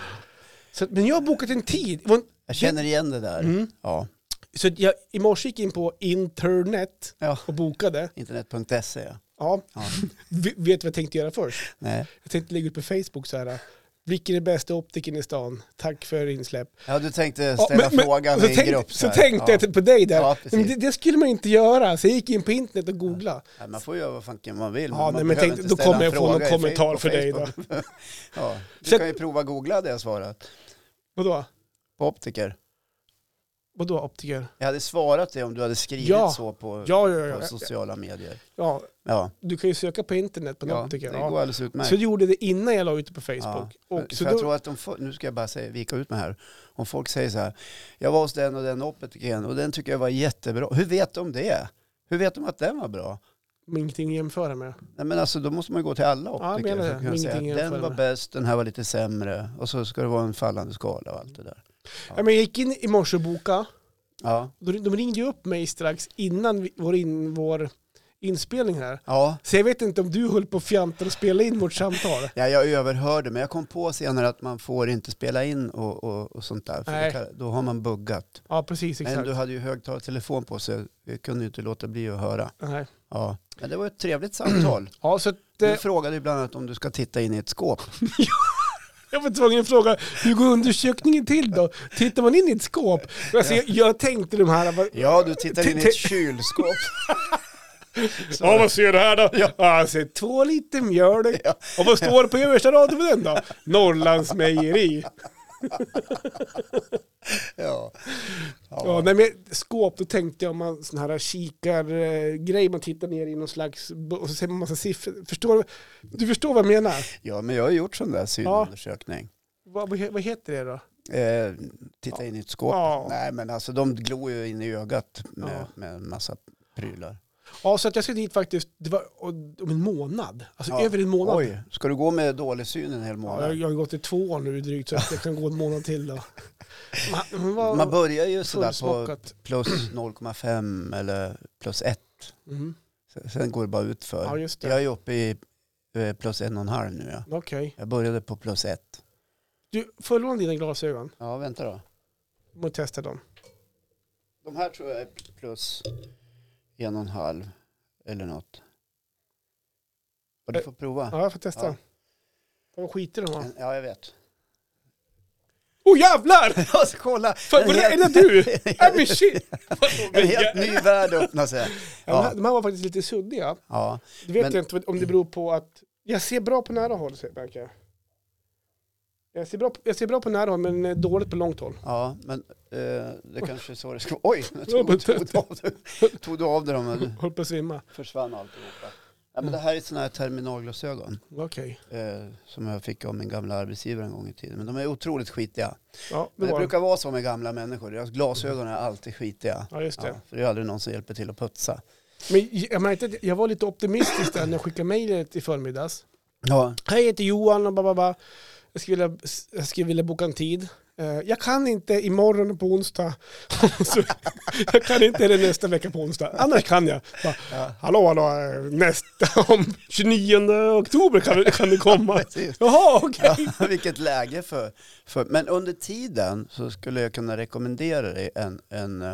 Speaker 2: Så, att- men jag har bokat en tid. Det var en-
Speaker 1: Jag känner igen det där.
Speaker 2: Mm.
Speaker 1: Ja.
Speaker 2: Så att jag, i morse gick jag in på internet
Speaker 1: ja.
Speaker 2: och bokade.
Speaker 1: Internet.se.
Speaker 2: Ja.
Speaker 1: Ja.
Speaker 2: V- Vet du vad jag tänkte göra först?
Speaker 1: Nej.
Speaker 2: Jag tänkte lägga ut på Facebook så här. Vilken är bästa optiken i stan? Tack för insläpp.
Speaker 1: Ja, du tänkte ställa
Speaker 2: men- men-
Speaker 1: frågan
Speaker 2: så
Speaker 1: i en
Speaker 2: tänk-
Speaker 1: grupp.
Speaker 2: Så
Speaker 1: här.
Speaker 2: tänkte
Speaker 1: ja.
Speaker 2: jag på dig där.
Speaker 1: Ja, precis.
Speaker 2: men det, det skulle man inte göra. Så jag gick in på internet och googlade.
Speaker 1: Nej, man får göra vad fanken man vill.
Speaker 2: Ja,
Speaker 1: man
Speaker 2: nej, men
Speaker 1: behöver
Speaker 2: tänk-
Speaker 1: inte
Speaker 2: då
Speaker 1: ställa
Speaker 2: kommer
Speaker 1: en
Speaker 2: jag få någon
Speaker 1: fråga i
Speaker 2: kommentar
Speaker 1: Facebook-
Speaker 2: för dig då.
Speaker 1: Facebook. ja. Du
Speaker 2: Så-
Speaker 1: kan ju prova googla det svaret.
Speaker 2: Vadå?
Speaker 1: På optiker.
Speaker 2: Vadå optiker?
Speaker 1: Jag hade svarat det om du hade skrivit
Speaker 2: Ja.
Speaker 1: så på,
Speaker 2: Ja, ja, ja.
Speaker 1: på sociala medier.
Speaker 2: ja.
Speaker 1: Ja,
Speaker 2: Du kan ju söka på internet på en
Speaker 1: ja det
Speaker 2: optiker.
Speaker 1: går
Speaker 2: Ja.
Speaker 1: alldeles utmärkt.
Speaker 2: Så jag gjorde det innan jag la ut det på Facebook.
Speaker 1: Ja,
Speaker 2: Och,
Speaker 1: för,
Speaker 2: så
Speaker 1: för jag
Speaker 2: då,
Speaker 1: tror att om, fo- nu ska jag bara säga, vika ut mig här. Om folk säger så här, jag var hos den och den optikern och den tycker jag var jättebra. Hur vet de det? Hur vet de att den var bra?
Speaker 2: men ingenting att jämföra med.
Speaker 1: Nej, men alltså, då måste man ju gå till alla
Speaker 2: jag
Speaker 1: optiker.
Speaker 2: menar
Speaker 1: så
Speaker 2: det.
Speaker 1: kan man säga,
Speaker 2: Ingenting jämför
Speaker 1: den var
Speaker 2: med.
Speaker 1: bäst, den här var lite sämre. Och så ska det vara en fallande skala och allt det där.
Speaker 2: Ja. men jag gick in i morse och bokade.
Speaker 1: Ja,
Speaker 2: Då- De ringde ju upp mig strax innan vi- vår, in, vår inspelning här.
Speaker 1: ja.
Speaker 2: Så jag vet inte om du höll på och fjantade och spelade in vårt samtal.
Speaker 1: ja jag överhörde, men jag kom på senare att man får inte spela in och, och, och sånt där. För
Speaker 2: Nej.
Speaker 1: det kan, då har man buggat.
Speaker 2: Ja, precis.
Speaker 1: Men
Speaker 2: Exakt.
Speaker 1: du hade ju högtalartelefon på så jag kunde ju inte låta bli att höra.
Speaker 2: Nej.
Speaker 1: Ja. Men det var ett trevligt samtal.
Speaker 2: Ja, så att,
Speaker 1: Du
Speaker 2: eh,
Speaker 1: frågade ju bland annat om du ska titta in i ett skåp.
Speaker 2: jag var tvungen att fråga, hur går undersökningen till då? Tittar man in i ett skåp? Alltså, jag, jag tänkte de här, vad,
Speaker 1: Ja, du tittar in i ett kylskåp. Så,
Speaker 2: Ja, vad ser du här då?
Speaker 1: Ja.
Speaker 2: Ja. Alltså, två liter mjölk.
Speaker 1: Ja.
Speaker 2: Och vad står det på översta raden på den då? Norrlands mejeri.
Speaker 1: ja.
Speaker 2: Ja,
Speaker 1: Ja.
Speaker 2: nej, men skåp, då tänkte jag om man sån här kikargrej, man tittar ner i någon slags, bo- och så ser man massa siffror. Förstår, du- du förstår vad jag menar?
Speaker 1: ja, men jag har gjort sån där synundersökning.
Speaker 2: Vad, vad he- vad heter det då?
Speaker 1: Eh, titta in i ett skåp.
Speaker 2: Ja.
Speaker 1: Nej, men alltså de glor ju in i ögat med,
Speaker 2: Ja.
Speaker 1: med en massa prylar.
Speaker 2: Ja, så att jag ska dit faktiskt, det var om en månad. Alltså
Speaker 1: Ja.
Speaker 2: över en månad.
Speaker 1: Oj, ska du gå med dålig syn en hel
Speaker 2: Ja, jag,
Speaker 1: månad?
Speaker 2: jag har gått i två år nu drygt så att jag kan gå en månad till då. Man, man var
Speaker 1: Man börjar ju sådär på
Speaker 2: fullsmockat.
Speaker 1: plus 0,5 eller plus 1.
Speaker 2: Mm.
Speaker 1: Sen går det bara ut för.
Speaker 2: Ja, just det.
Speaker 1: Jag är ju uppe i eh, plus 1,5 nu. Ja.
Speaker 2: Okej.
Speaker 1: Jag började på plus 1.
Speaker 2: Du, får jag låna dina glasögon?
Speaker 1: Ja, vänta då.
Speaker 2: Jag måste testa dem.
Speaker 1: De här tror jag är plus en och en halv eller något. Och du får prova.
Speaker 2: Eh, Ja, jag får testa.
Speaker 1: Ja.
Speaker 2: Ja. Vad skiter de var.
Speaker 1: En- Ja, jag vet.
Speaker 2: Åh oh, jävlar!
Speaker 1: Jag ska kolla!
Speaker 2: Fan, vad är det du? Nej men shit!
Speaker 1: En helt ny värld öppnar sig.
Speaker 2: Ja, de här-
Speaker 1: Ja.
Speaker 2: De här var faktiskt lite suddiga.
Speaker 1: Ja,
Speaker 2: Det vet
Speaker 1: Men-
Speaker 2: jag inte om det beror på att jag ser bra på nära håll, ser- verkar jag. Jag ser, bra, jag ser bra på nära håll men eh, dåligt på långt håll.
Speaker 1: ja men eh, det kanske är så det ska vara. Oj, nu
Speaker 2: Ja, men
Speaker 1: tog, tog, du av dig- tog du av dig dem och
Speaker 2: Höll på att svimma.
Speaker 1: försvann alltihopa. Ja, men det här är sådana här terminalglasögon
Speaker 2: Okej.
Speaker 1: eh, som jag fick av min gamla arbetsgivare en gång i tiden. Men de är otroligt skitiga.
Speaker 2: Ja, det
Speaker 1: Men det
Speaker 2: var
Speaker 1: brukar vara så med gamla människor, deras glasögon är alltid skitiga.
Speaker 2: Ja, just det.
Speaker 1: Ja, för det är aldrig någon som hjälper till att putsa.
Speaker 2: Men jag märkte att jag var lite optimistisk där när jag skickade mejlet i förmiddags.
Speaker 1: Ja,
Speaker 2: Hej, jag heter Johan och bababa. Jag skulle vilja, jag skulle vilja boka en tid. Eh, Jag kan inte imorgon på onsdag. Så, jag kan inte heller nästa vecka på onsdag. Annars kan jag. Bara,
Speaker 1: Ja.
Speaker 2: Hallå, hallå, eh, nästa om 29 oktober kan, du- kan du komma.
Speaker 1: precis.
Speaker 2: Jaha, okej.
Speaker 1: Ja, vilket läge för, för... Men under tiden så skulle jag kunna rekommendera dig en... en eh,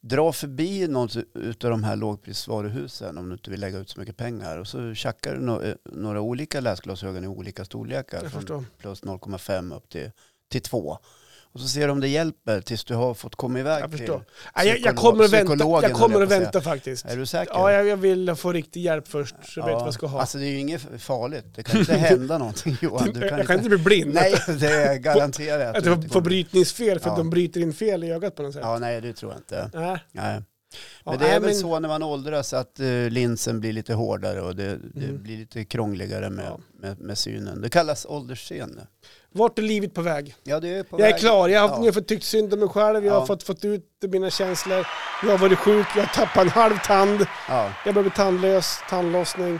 Speaker 1: dra förbi något utav de här lågprisvaruhusen om du inte vill lägga ut så mycket pengar. Och så tjackar du no- eh, några olika läsglasögon i olika storlekar.
Speaker 2: Jag
Speaker 1: från
Speaker 2: förstår.
Speaker 1: plus 0,5 upp till, till 2. Och så ser du om det hjälper tills du har fått komma iväg
Speaker 2: Jag
Speaker 1: till...
Speaker 2: förstår. Nej, Jag, jag
Speaker 1: psykolog-
Speaker 2: kommer att vänta,
Speaker 1: psykologen,
Speaker 2: jag kommer
Speaker 1: höll jag
Speaker 2: att
Speaker 1: på att
Speaker 2: vänta faktiskt.
Speaker 1: Är du säker?
Speaker 2: Ja, jag, jag vill få riktig hjälp först så jag vet
Speaker 1: Ja.
Speaker 2: vad jag ska ha.
Speaker 1: Alltså det är ju inget farligt. Det kan inte hända någonting Johan. Du kan
Speaker 2: jag
Speaker 1: inte...
Speaker 2: kan inte bli blind.
Speaker 1: Nej, det är garanterat.
Speaker 2: Att
Speaker 1: du
Speaker 2: jag
Speaker 1: inte
Speaker 2: får
Speaker 1: kommer-
Speaker 2: brytningsfel för att
Speaker 1: Ja.
Speaker 2: de bryter in fel i ögat på något sätt.
Speaker 1: Ja, nej det tror jag inte.
Speaker 2: Nej.
Speaker 1: Nej.
Speaker 2: Ja,
Speaker 1: Men det är
Speaker 2: nej,
Speaker 1: väl så när man åldras att eh, linsen blir lite hårdare och det, det
Speaker 2: Mm.
Speaker 1: blir lite krångligare med,
Speaker 2: Ja.
Speaker 1: med, med synen. Det kallas åldersseende.
Speaker 2: Vart är livet på väg?
Speaker 1: Ja, det är på
Speaker 2: jag är
Speaker 1: väg.
Speaker 2: klar, jag har,
Speaker 1: Ja.
Speaker 2: jag har fått tyckt synd om mig själv, jag
Speaker 1: Ja.
Speaker 2: har fått, fått ut mina känslor, jag har varit sjuk, jag har tappat en halv tand,
Speaker 1: Ja.
Speaker 2: jag börjar bli tandlös, tandlossning.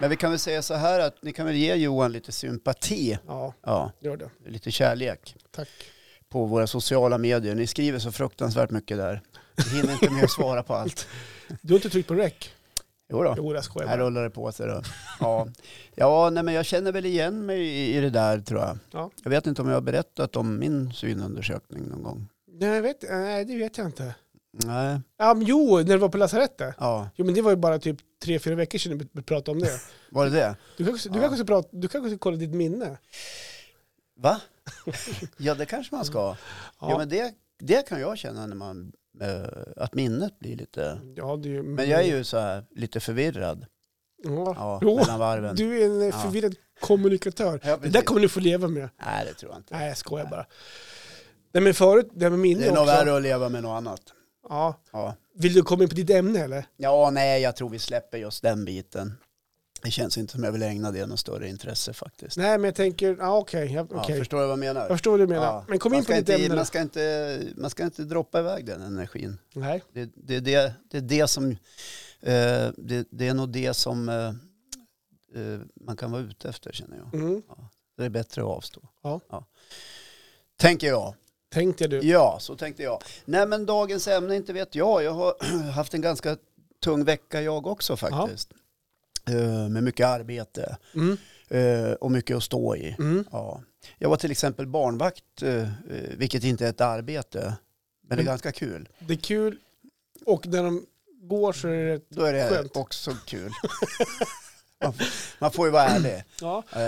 Speaker 1: Men vi kan väl säga så här att ni kan väl ge Johan lite sympati,
Speaker 2: Ja,
Speaker 1: ja,
Speaker 2: gör det.
Speaker 1: lite kärlek
Speaker 2: Tack.
Speaker 1: på våra sociala medier. Ni skriver så fruktansvärt mycket där. Vi hinner inte med att svara på allt.
Speaker 2: Du har inte tryckt på rec?
Speaker 1: Jo då.
Speaker 2: Jo, jag skojar
Speaker 1: Här
Speaker 2: bara.
Speaker 1: rullar det på sig då. Ja, ja nej, men jag känner väl igen mig i, i det där tror jag.
Speaker 2: Ja.
Speaker 1: Jag vet inte om jag har berättat om min synundersökning någon gång.
Speaker 2: Nej, jag vet, nej, det vet jag inte.
Speaker 1: Nej,
Speaker 2: Ja, men jo, när du var på lasarettet.
Speaker 1: ja,
Speaker 2: Jo, men det var ju bara typ tre, fyra veckor sedan vi- vi pratade om det.
Speaker 1: var det det?
Speaker 2: Du kanske, du
Speaker 1: Ja.
Speaker 2: kanske, ska, prata, du kanske ska kolla ditt minne?
Speaker 1: Va? ja, det kanske man ska. Ja, men det, det kan jag känna när man, eh, att minnet blir lite...
Speaker 2: ja, det är ju...
Speaker 1: Men jag är ju så här lite förvirrad
Speaker 2: Ja.
Speaker 1: ja,
Speaker 2: Jo,
Speaker 1: mellan varven.
Speaker 2: Du är en eh, förvirrad kommunikatör.
Speaker 1: Ja,
Speaker 2: Det
Speaker 1: precis.
Speaker 2: där kommer du få leva med.
Speaker 1: Nej, det tror jag inte.
Speaker 2: Nej, jag skojar bara. Nej men förut, det här med minne
Speaker 1: Det är nog
Speaker 2: också.
Speaker 1: värre att leva med något annat.
Speaker 2: Ja.
Speaker 1: Ja.
Speaker 2: Vill du komma in på ditt ämne eller?
Speaker 1: ja, nej, jag tror vi släpper just den biten. Det känns inte som jag vill ägna det något större intresse faktiskt.
Speaker 2: Nej men jag tänker, ja okej. ja,
Speaker 1: Ja,
Speaker 2: okej.
Speaker 1: förstår du vad jag menar?
Speaker 2: Jag förstår vad du menar.
Speaker 1: Ja.
Speaker 2: Men kom
Speaker 1: man
Speaker 2: in på
Speaker 1: ska
Speaker 2: ditt
Speaker 1: inte,
Speaker 2: ämne.
Speaker 1: Man ska, inte, man ska inte droppa iväg den energin.
Speaker 2: Nej.
Speaker 1: Det, det, är det, det är det som, eh, det, det är nog det som eh, eh, man kan vara ute efter känner jag.
Speaker 2: Mm.
Speaker 1: Det är bättre att avstå.
Speaker 2: Ja.
Speaker 1: Tänker jag.
Speaker 2: Tänkte du.
Speaker 1: Ja, så tänkte jag. Nej men dagens ämne, inte vet jag. Jag har haft en ganska tung vecka jag också faktiskt. Eh, Med mycket arbete
Speaker 2: Mm.
Speaker 1: eh, och mycket att stå i.
Speaker 2: Mm.
Speaker 1: Ja. Jag var till exempel barnvakt, eh, eh, vilket inte är ett arbete, men det är
Speaker 2: Mm.
Speaker 1: ganska kul.
Speaker 2: Det är kul och när de går så är det...
Speaker 1: Då är det
Speaker 2: Skönt.
Speaker 1: också kul. man, f- man får ju vara ärlig.
Speaker 2: Ja.
Speaker 1: Eh,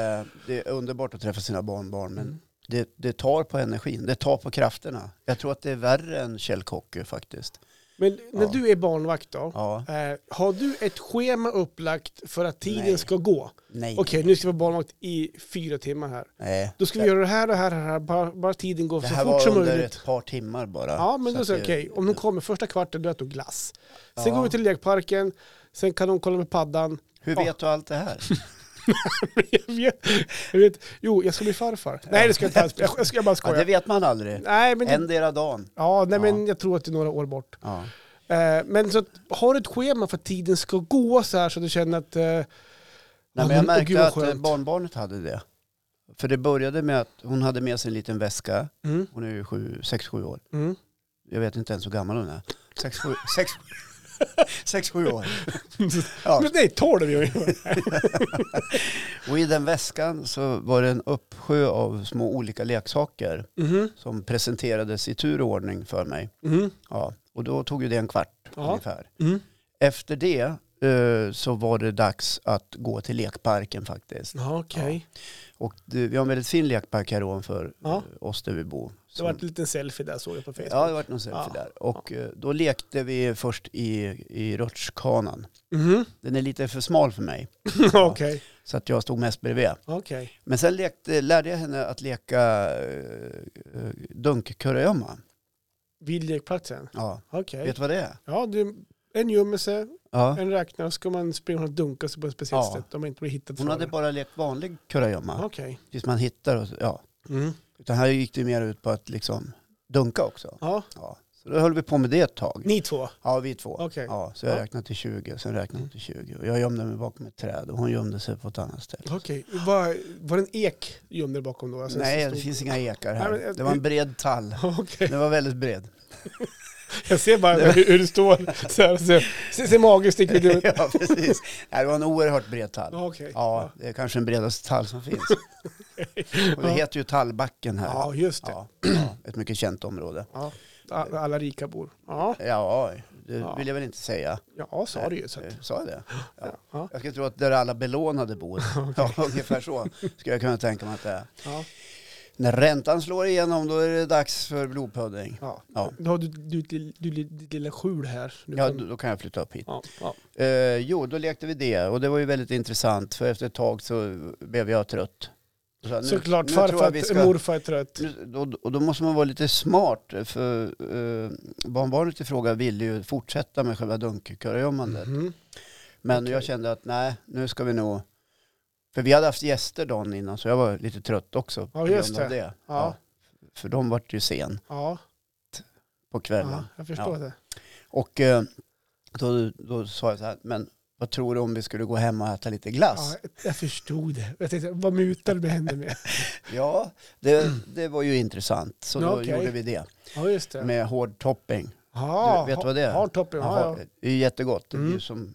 Speaker 1: Det är underbart att träffa sina barnbarn, men
Speaker 2: Mm.
Speaker 1: det, det tar på energin, det tar på krafterna. Jag tror att det är värre än källkocker faktiskt.
Speaker 2: Men när
Speaker 1: Ja.
Speaker 2: du är barnvakt då,
Speaker 1: Ja,
Speaker 2: eh, har du ett schema upplagt för att tiden
Speaker 1: Nej.
Speaker 2: ska gå?
Speaker 1: nej.
Speaker 2: Okej, nu ska vi vara barnvakt i fyra timmar här.
Speaker 1: nej.
Speaker 2: Då ska vi
Speaker 1: Det-
Speaker 2: göra det här och det här, och det här bara, bara tiden går
Speaker 1: det
Speaker 2: så
Speaker 1: här
Speaker 2: fort
Speaker 1: var
Speaker 2: som
Speaker 1: under
Speaker 2: möjligt.
Speaker 1: ett par timmar bara.
Speaker 2: Ja, men
Speaker 1: Så
Speaker 2: då
Speaker 1: att
Speaker 2: säger
Speaker 1: det-
Speaker 2: jag, okej, om de kommer första kvarten, då äter de glass. Sen
Speaker 1: Ja.
Speaker 2: går vi till lekparken, sen kan de kolla med paddan.
Speaker 1: Hur
Speaker 2: Ja.
Speaker 1: vet du allt det här?
Speaker 2: jag vet, jag vet, jo, jag ska bli farfar. Nej, det ska jag inte alls bli. Jag, ska, jag bara
Speaker 1: Ja,
Speaker 2: skojar.
Speaker 1: det vet man aldrig.
Speaker 2: Nej, men, det,
Speaker 1: Endera dagen.
Speaker 2: ja, nej,
Speaker 1: Ja.
Speaker 2: men jag tror att det är några år bort.
Speaker 1: Ja.
Speaker 2: Eh, men så att, har du ett schema för att tiden ska gå så här så du känner att... Eh,
Speaker 1: Nej, men
Speaker 2: men-
Speaker 1: jag
Speaker 2: åh, gud,
Speaker 1: märkte
Speaker 2: vad
Speaker 1: att eh,
Speaker 2: skönt.
Speaker 1: barnbarnet hade det. För det började med att hon hade med sig en liten väska.
Speaker 2: mm,
Speaker 1: Hon är ju 6-7 år.
Speaker 2: mm.
Speaker 1: Jag vet inte ens hur gammal hon är. 6-7 år. Ja.
Speaker 2: Men nej, tolv gör jag.
Speaker 1: Och i den väskan så var det en uppsjö av små olika leksaker
Speaker 2: Mhm,
Speaker 1: som presenterades i tur och ordning för mig.
Speaker 2: mhm,
Speaker 1: Ja. Och då tog ju det en kvart
Speaker 2: Ja.
Speaker 1: ungefär.
Speaker 2: mm.
Speaker 1: Efter det eh, så var det dags att gå till lekparken faktiskt.
Speaker 2: Ja, okej.
Speaker 1: Och det, vi har en väldigt fin lekpark här ovanför
Speaker 2: Ja.
Speaker 1: ja. oss där vi bor.
Speaker 2: Det
Speaker 1: Som-
Speaker 2: var en liten selfie där såg jag på Facebook.
Speaker 1: Ja, det var någon selfie
Speaker 2: Ja.
Speaker 1: där. Och eh, då lekte vi först i, i rutschkanan.
Speaker 2: Mhm,
Speaker 1: Den är lite för smal för mig,
Speaker 2: Okej,
Speaker 1: så att jag stod mest bredvid.
Speaker 2: okej.
Speaker 1: Men sen lekte, lärde jag henne att leka uh, dunkkurragömma.
Speaker 2: Vid lekplatsen?
Speaker 1: Ja.
Speaker 2: Okej.
Speaker 1: Vet du vad det är?
Speaker 2: Ja, du, en gömmer
Speaker 1: Ja.
Speaker 2: en räknar, så ska man springa och dunka sig på ett speciellt
Speaker 1: Ja.
Speaker 2: sätt om man inte blir hittad
Speaker 1: Hon
Speaker 2: för
Speaker 1: hade
Speaker 2: det.
Speaker 1: bara lekt vanlig kurragömma,
Speaker 2: Okej.
Speaker 1: tills man hittar. Och, ja.
Speaker 2: Mm.
Speaker 1: Utan här gick det mer ut på att liksom dunka också.
Speaker 2: Ja,
Speaker 1: Ja. Så då höll vi på med det ett tag.
Speaker 2: ni två.
Speaker 1: Ja, vi två.
Speaker 2: Okej.
Speaker 1: Ja, så jag
Speaker 2: Ja.
Speaker 1: räknade till 20, sen räknade hon till 20. Och jag gömde mig bakom ett träd och hon gömde sig på ett annat ställe.
Speaker 2: Okej. Var, var det en ek gömd där bakom då? Alltså,
Speaker 1: Nej,
Speaker 2: så
Speaker 1: det
Speaker 2: stor-
Speaker 1: finns inga ekar
Speaker 2: Nej,
Speaker 1: här.
Speaker 2: men eh, jag-
Speaker 1: Det var en bred tall.
Speaker 2: Okej,
Speaker 1: Den var väldigt bred.
Speaker 2: jag ser bara hur, hur du står så här. Så, ser, ser magen sticker ut.
Speaker 1: ja, precis. Nej, det var en oerhört bred tall.
Speaker 2: Ja, Okej.
Speaker 1: Ja, det är kanske den bredaste tall som finns. Och det
Speaker 2: Ja.
Speaker 1: heter ju Tallbacken här.
Speaker 2: Ja, just det.
Speaker 1: Ja, ja, ett mycket känt område.
Speaker 2: Ja. Alla, alla rika bor. Ja,
Speaker 1: Ja, det
Speaker 2: Ja.
Speaker 1: vill jag väl inte säga.
Speaker 2: ja sa du ju. Så att,
Speaker 1: Eh, Sa jag det?
Speaker 2: ja. Ja.
Speaker 1: Jag skulle tro att där alla belånade bor. Ja, ungefär så skulle jag kunna tänka mig att det är.
Speaker 2: Ja.
Speaker 1: När räntan slår igenom då är det dags för blodpudding.
Speaker 2: Ja.
Speaker 1: Ja.
Speaker 2: Då har du, du, du, du ditt lilla skjul här. Du
Speaker 1: Ja,
Speaker 2: kan-
Speaker 1: då då kan jag flytta upp hit.
Speaker 2: ja, ja.
Speaker 1: Eh, jo, då lekte vi det och det var ju väldigt intressant för efter ett tag så blev jag trött. Så, nu-
Speaker 2: Såklart,
Speaker 1: nu tror jag
Speaker 2: farfar,
Speaker 1: vi ska-
Speaker 2: morfar är trött.
Speaker 1: Nu- Och och då måste man vara lite smart för eh, barnbarnet i fråga ville ju fortsätta med själva dunkkurragömmandet.
Speaker 2: Mhm.
Speaker 1: Men jag
Speaker 2: okej.
Speaker 1: kände att nej, nu ska vi nog... För vi hade haft gäster dagen innan så jag var lite trött också
Speaker 2: Ja, just
Speaker 1: av
Speaker 2: det.
Speaker 1: det.
Speaker 2: Ja.
Speaker 1: För de var ju sen
Speaker 2: Ja,
Speaker 1: på kvällen.
Speaker 2: ja, jag förstår
Speaker 1: Ja.
Speaker 2: det.
Speaker 1: Och eh, då, då sa jag så här, men vad tror du om vi skulle gå hem och äta lite glass?
Speaker 2: Ja, jag förstod det. Jag tänkte, vad mutar du med henne med?
Speaker 1: Ja, det, det var ju intressant. Så
Speaker 2: Ja,
Speaker 1: då
Speaker 2: okej.
Speaker 1: gjorde vi det
Speaker 2: Ja, just det.
Speaker 1: med hård topping.
Speaker 2: ja,
Speaker 1: du vet vad det är?
Speaker 2: Ja, toppen. Ja,
Speaker 1: Jaha,
Speaker 2: ja.
Speaker 1: Det är jättegott. Det blir
Speaker 2: Mm.
Speaker 1: ju som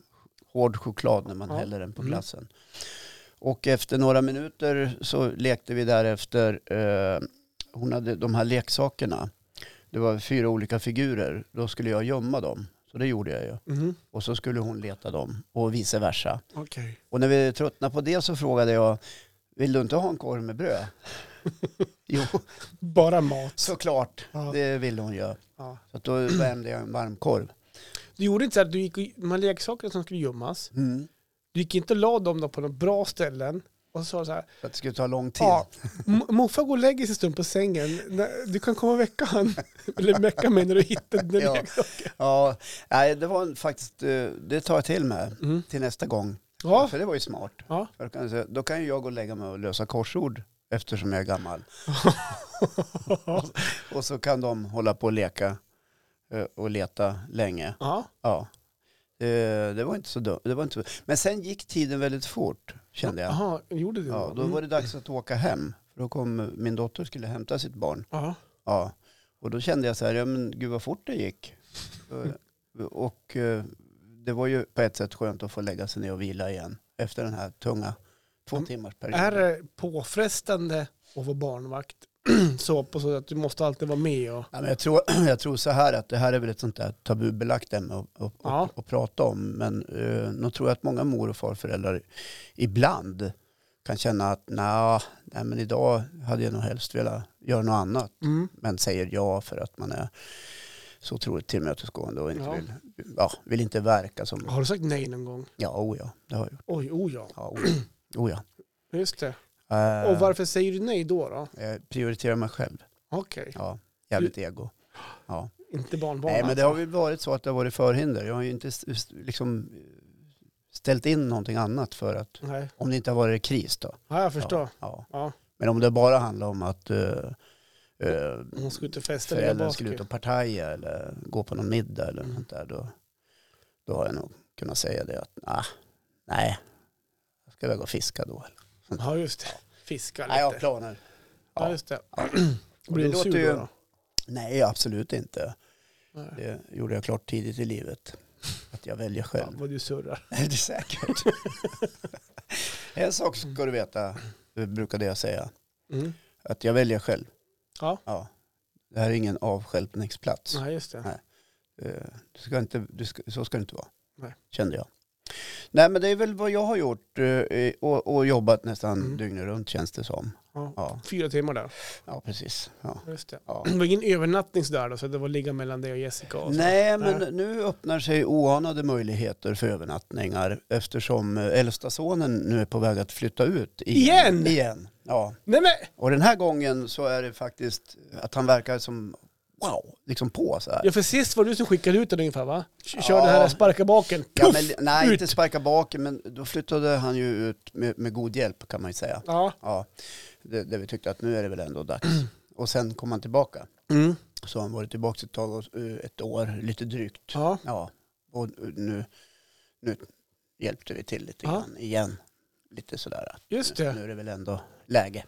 Speaker 1: hård choklad när man
Speaker 2: Ja.
Speaker 1: häller den på
Speaker 2: Mm.
Speaker 1: glassen. Och efter några minuter så lekte vi därefter. Eh, hon hade de här leksakerna. Det var fyra olika figurer. Då skulle jag gömma dem. Så det gjorde jag ju.
Speaker 2: Mhm,
Speaker 1: Och så skulle hon leta dem och vice versa.
Speaker 2: Okej.
Speaker 1: Och när vi tröttnade på det så frågade jag, vill du inte ha en korv med bröd? jo,
Speaker 2: Bara mat.
Speaker 1: såklart.
Speaker 2: Ja,
Speaker 1: Det ville hon ju.
Speaker 2: ja.
Speaker 1: Så att då värmde jag en varmkorv.
Speaker 2: Du gjorde inte så att du gick och, de här leksakerna som skulle gömmas,
Speaker 1: Mm.
Speaker 2: du gick inte och la dem då på några bra ställen Och så sa du så här,
Speaker 1: För att det skulle ta lång tid.
Speaker 2: ja, m- morfar går och lägger sig en stund på sängen. Nä, Du kan komma och väcka han. Eller väcka mig när du hittar den där
Speaker 1: Ja.
Speaker 2: leksaken.
Speaker 1: Ja, nej, det var en- faktiskt, eh, det tar jag till mig
Speaker 2: Mm.
Speaker 1: till nästa gång.
Speaker 2: Ja,
Speaker 1: För det var ju smart.
Speaker 2: ja.
Speaker 1: För då kan jag säga, Då kan ju jag gå och lägga mig och lösa korsord eftersom jag är gammal. Och så kan de hålla på och leka eh, och leta länge.
Speaker 2: ja.
Speaker 1: Ja. Eh, Det var inte så dumt. Det var inte... Men sen gick tiden väldigt fort kände jag.
Speaker 2: Jaha, gjorde du Mm. det?
Speaker 1: Ja, då var det dags att åka hem. För då kom min dotter skulle hämta sitt barn.
Speaker 2: Ja.
Speaker 1: Ja, och då kände jag så här, ja men gud vad fort det gick. Eh, Och eh, det var ju på ett sätt skönt att få lägga sig ner och vila igen efter den här tunga två
Speaker 2: Mm.
Speaker 1: timmars
Speaker 2: Är
Speaker 1: perioden.
Speaker 2: det påfrestande att vara barnvakt? så på så att du måste alltid vara med och...
Speaker 1: Ja, men jag, tror, jag tror så här att det här är väl ett sånt där tabubelagt ämne att, att,
Speaker 2: Ja.
Speaker 1: att, att prata om. Men eh, nog tror jag att många mor och farföräldrar ibland kan känna att "Nja, nej men idag hade jag nog helst velat göra något annat.
Speaker 2: Mm.
Speaker 1: men säger ja för att man är så otroligt tillmötesgående och inte
Speaker 2: Ja.
Speaker 1: Vill, ja, vill inte verka som...
Speaker 2: Har du sagt nej någon gång?
Speaker 1: Ja, oh ja, det har jag gjort.
Speaker 2: Oj, oh ja.
Speaker 1: Ja, oh ja. Oh ja.
Speaker 2: Just det.
Speaker 1: Eh,
Speaker 2: Och varför säger du nej då? då?
Speaker 1: Jag prioriterar mig själv.
Speaker 2: Okej,
Speaker 1: Ja, jävligt ego.
Speaker 2: inte barnbarn
Speaker 1: Nej, men det
Speaker 2: alltså.
Speaker 1: har väl varit så att det har varit förhinder. Jag har ju inte s- s- liksom eh, ställt in någonting annat för att...
Speaker 2: Nej,
Speaker 1: Om det inte har varit kris då.
Speaker 2: ja, jag förstår.
Speaker 1: Ja.
Speaker 2: Ja.
Speaker 1: Men om det bara handlar om att... eh, eh,
Speaker 2: Hon ska ut och festa och
Speaker 1: föräldrar
Speaker 2: lira
Speaker 1: skulle ut
Speaker 2: basket.
Speaker 1: och partaja eller gå på någon middag eller
Speaker 2: Mm.
Speaker 1: sånt där, då, då har jag nog kunnat säga det att nah, nej, jag ska väl gå och fiska då. Eller?
Speaker 2: Ja, just det. Fiska lite.
Speaker 1: Nej, jag har planer.
Speaker 2: Ja, just det.
Speaker 1: Ja.
Speaker 2: Blir
Speaker 1: Det
Speaker 2: hon
Speaker 1: låter
Speaker 2: sur
Speaker 1: ju-
Speaker 2: då, då?
Speaker 1: Nej, absolut inte.
Speaker 2: Nej.
Speaker 1: Det gjorde jag klart tidigt i livet. Att jag väljer
Speaker 2: Fan
Speaker 1: själv.
Speaker 2: vad du surrar.
Speaker 1: Det är säkert. en sak ska du veta, brukade jag säga.
Speaker 2: Mm.
Speaker 1: Att jag väljer själv.
Speaker 2: Ja.
Speaker 1: ja. Det här är ingen avstjälpningsplats.
Speaker 2: Nej, just det.
Speaker 1: Eh, Du ska inte, du ska, så ska det inte vara,
Speaker 2: Nej.
Speaker 1: kände jag. Nej men det är väl vad jag har gjort eh, och, och jobbat nästan
Speaker 2: Mm.
Speaker 1: dygnet runt känns det som.
Speaker 2: Ja.
Speaker 1: Ja,
Speaker 2: Fyra timmar där.
Speaker 1: ja precis. Ja.
Speaker 2: Just det.
Speaker 1: Ja.
Speaker 2: Det var ingen övernattning sådär då, så det var ligga mellan dig och Jessica? Och så.
Speaker 1: Nej men
Speaker 2: Nej.
Speaker 1: nu öppnar sig oanade möjligheter för övernattningar eftersom eh, äldsta sonen nu är på väg att flytta ut.
Speaker 2: Igen?
Speaker 1: Igen, ja.
Speaker 2: Nej men,
Speaker 1: Och den här gången så är det faktiskt att han verkar som, wow, liksom på så här.
Speaker 2: ja, för sist var det du som skickade ut den ungefär va? K- Kör
Speaker 1: Ja.
Speaker 2: det här sparka baken, puff!
Speaker 1: Ja, men, nej,
Speaker 2: ut.
Speaker 1: inte sparka baken, men då flyttade han ju ut med, med god hjälp kan man ju säga.
Speaker 2: Ja.
Speaker 1: Ja, det, det vi tyckte att nu är det väl ändå dags. Och sen kom han tillbaka.
Speaker 2: Mm.
Speaker 1: Så har han varit tillbaka ett tag, och, eh, ett år, lite drygt.
Speaker 2: ja.
Speaker 1: Ja, och nu, nu hjälpte vi till lite
Speaker 2: Ja.
Speaker 1: grann igen. Lite sådär att
Speaker 2: Just
Speaker 1: nu,
Speaker 2: det.
Speaker 1: nu är det väl ändå läge.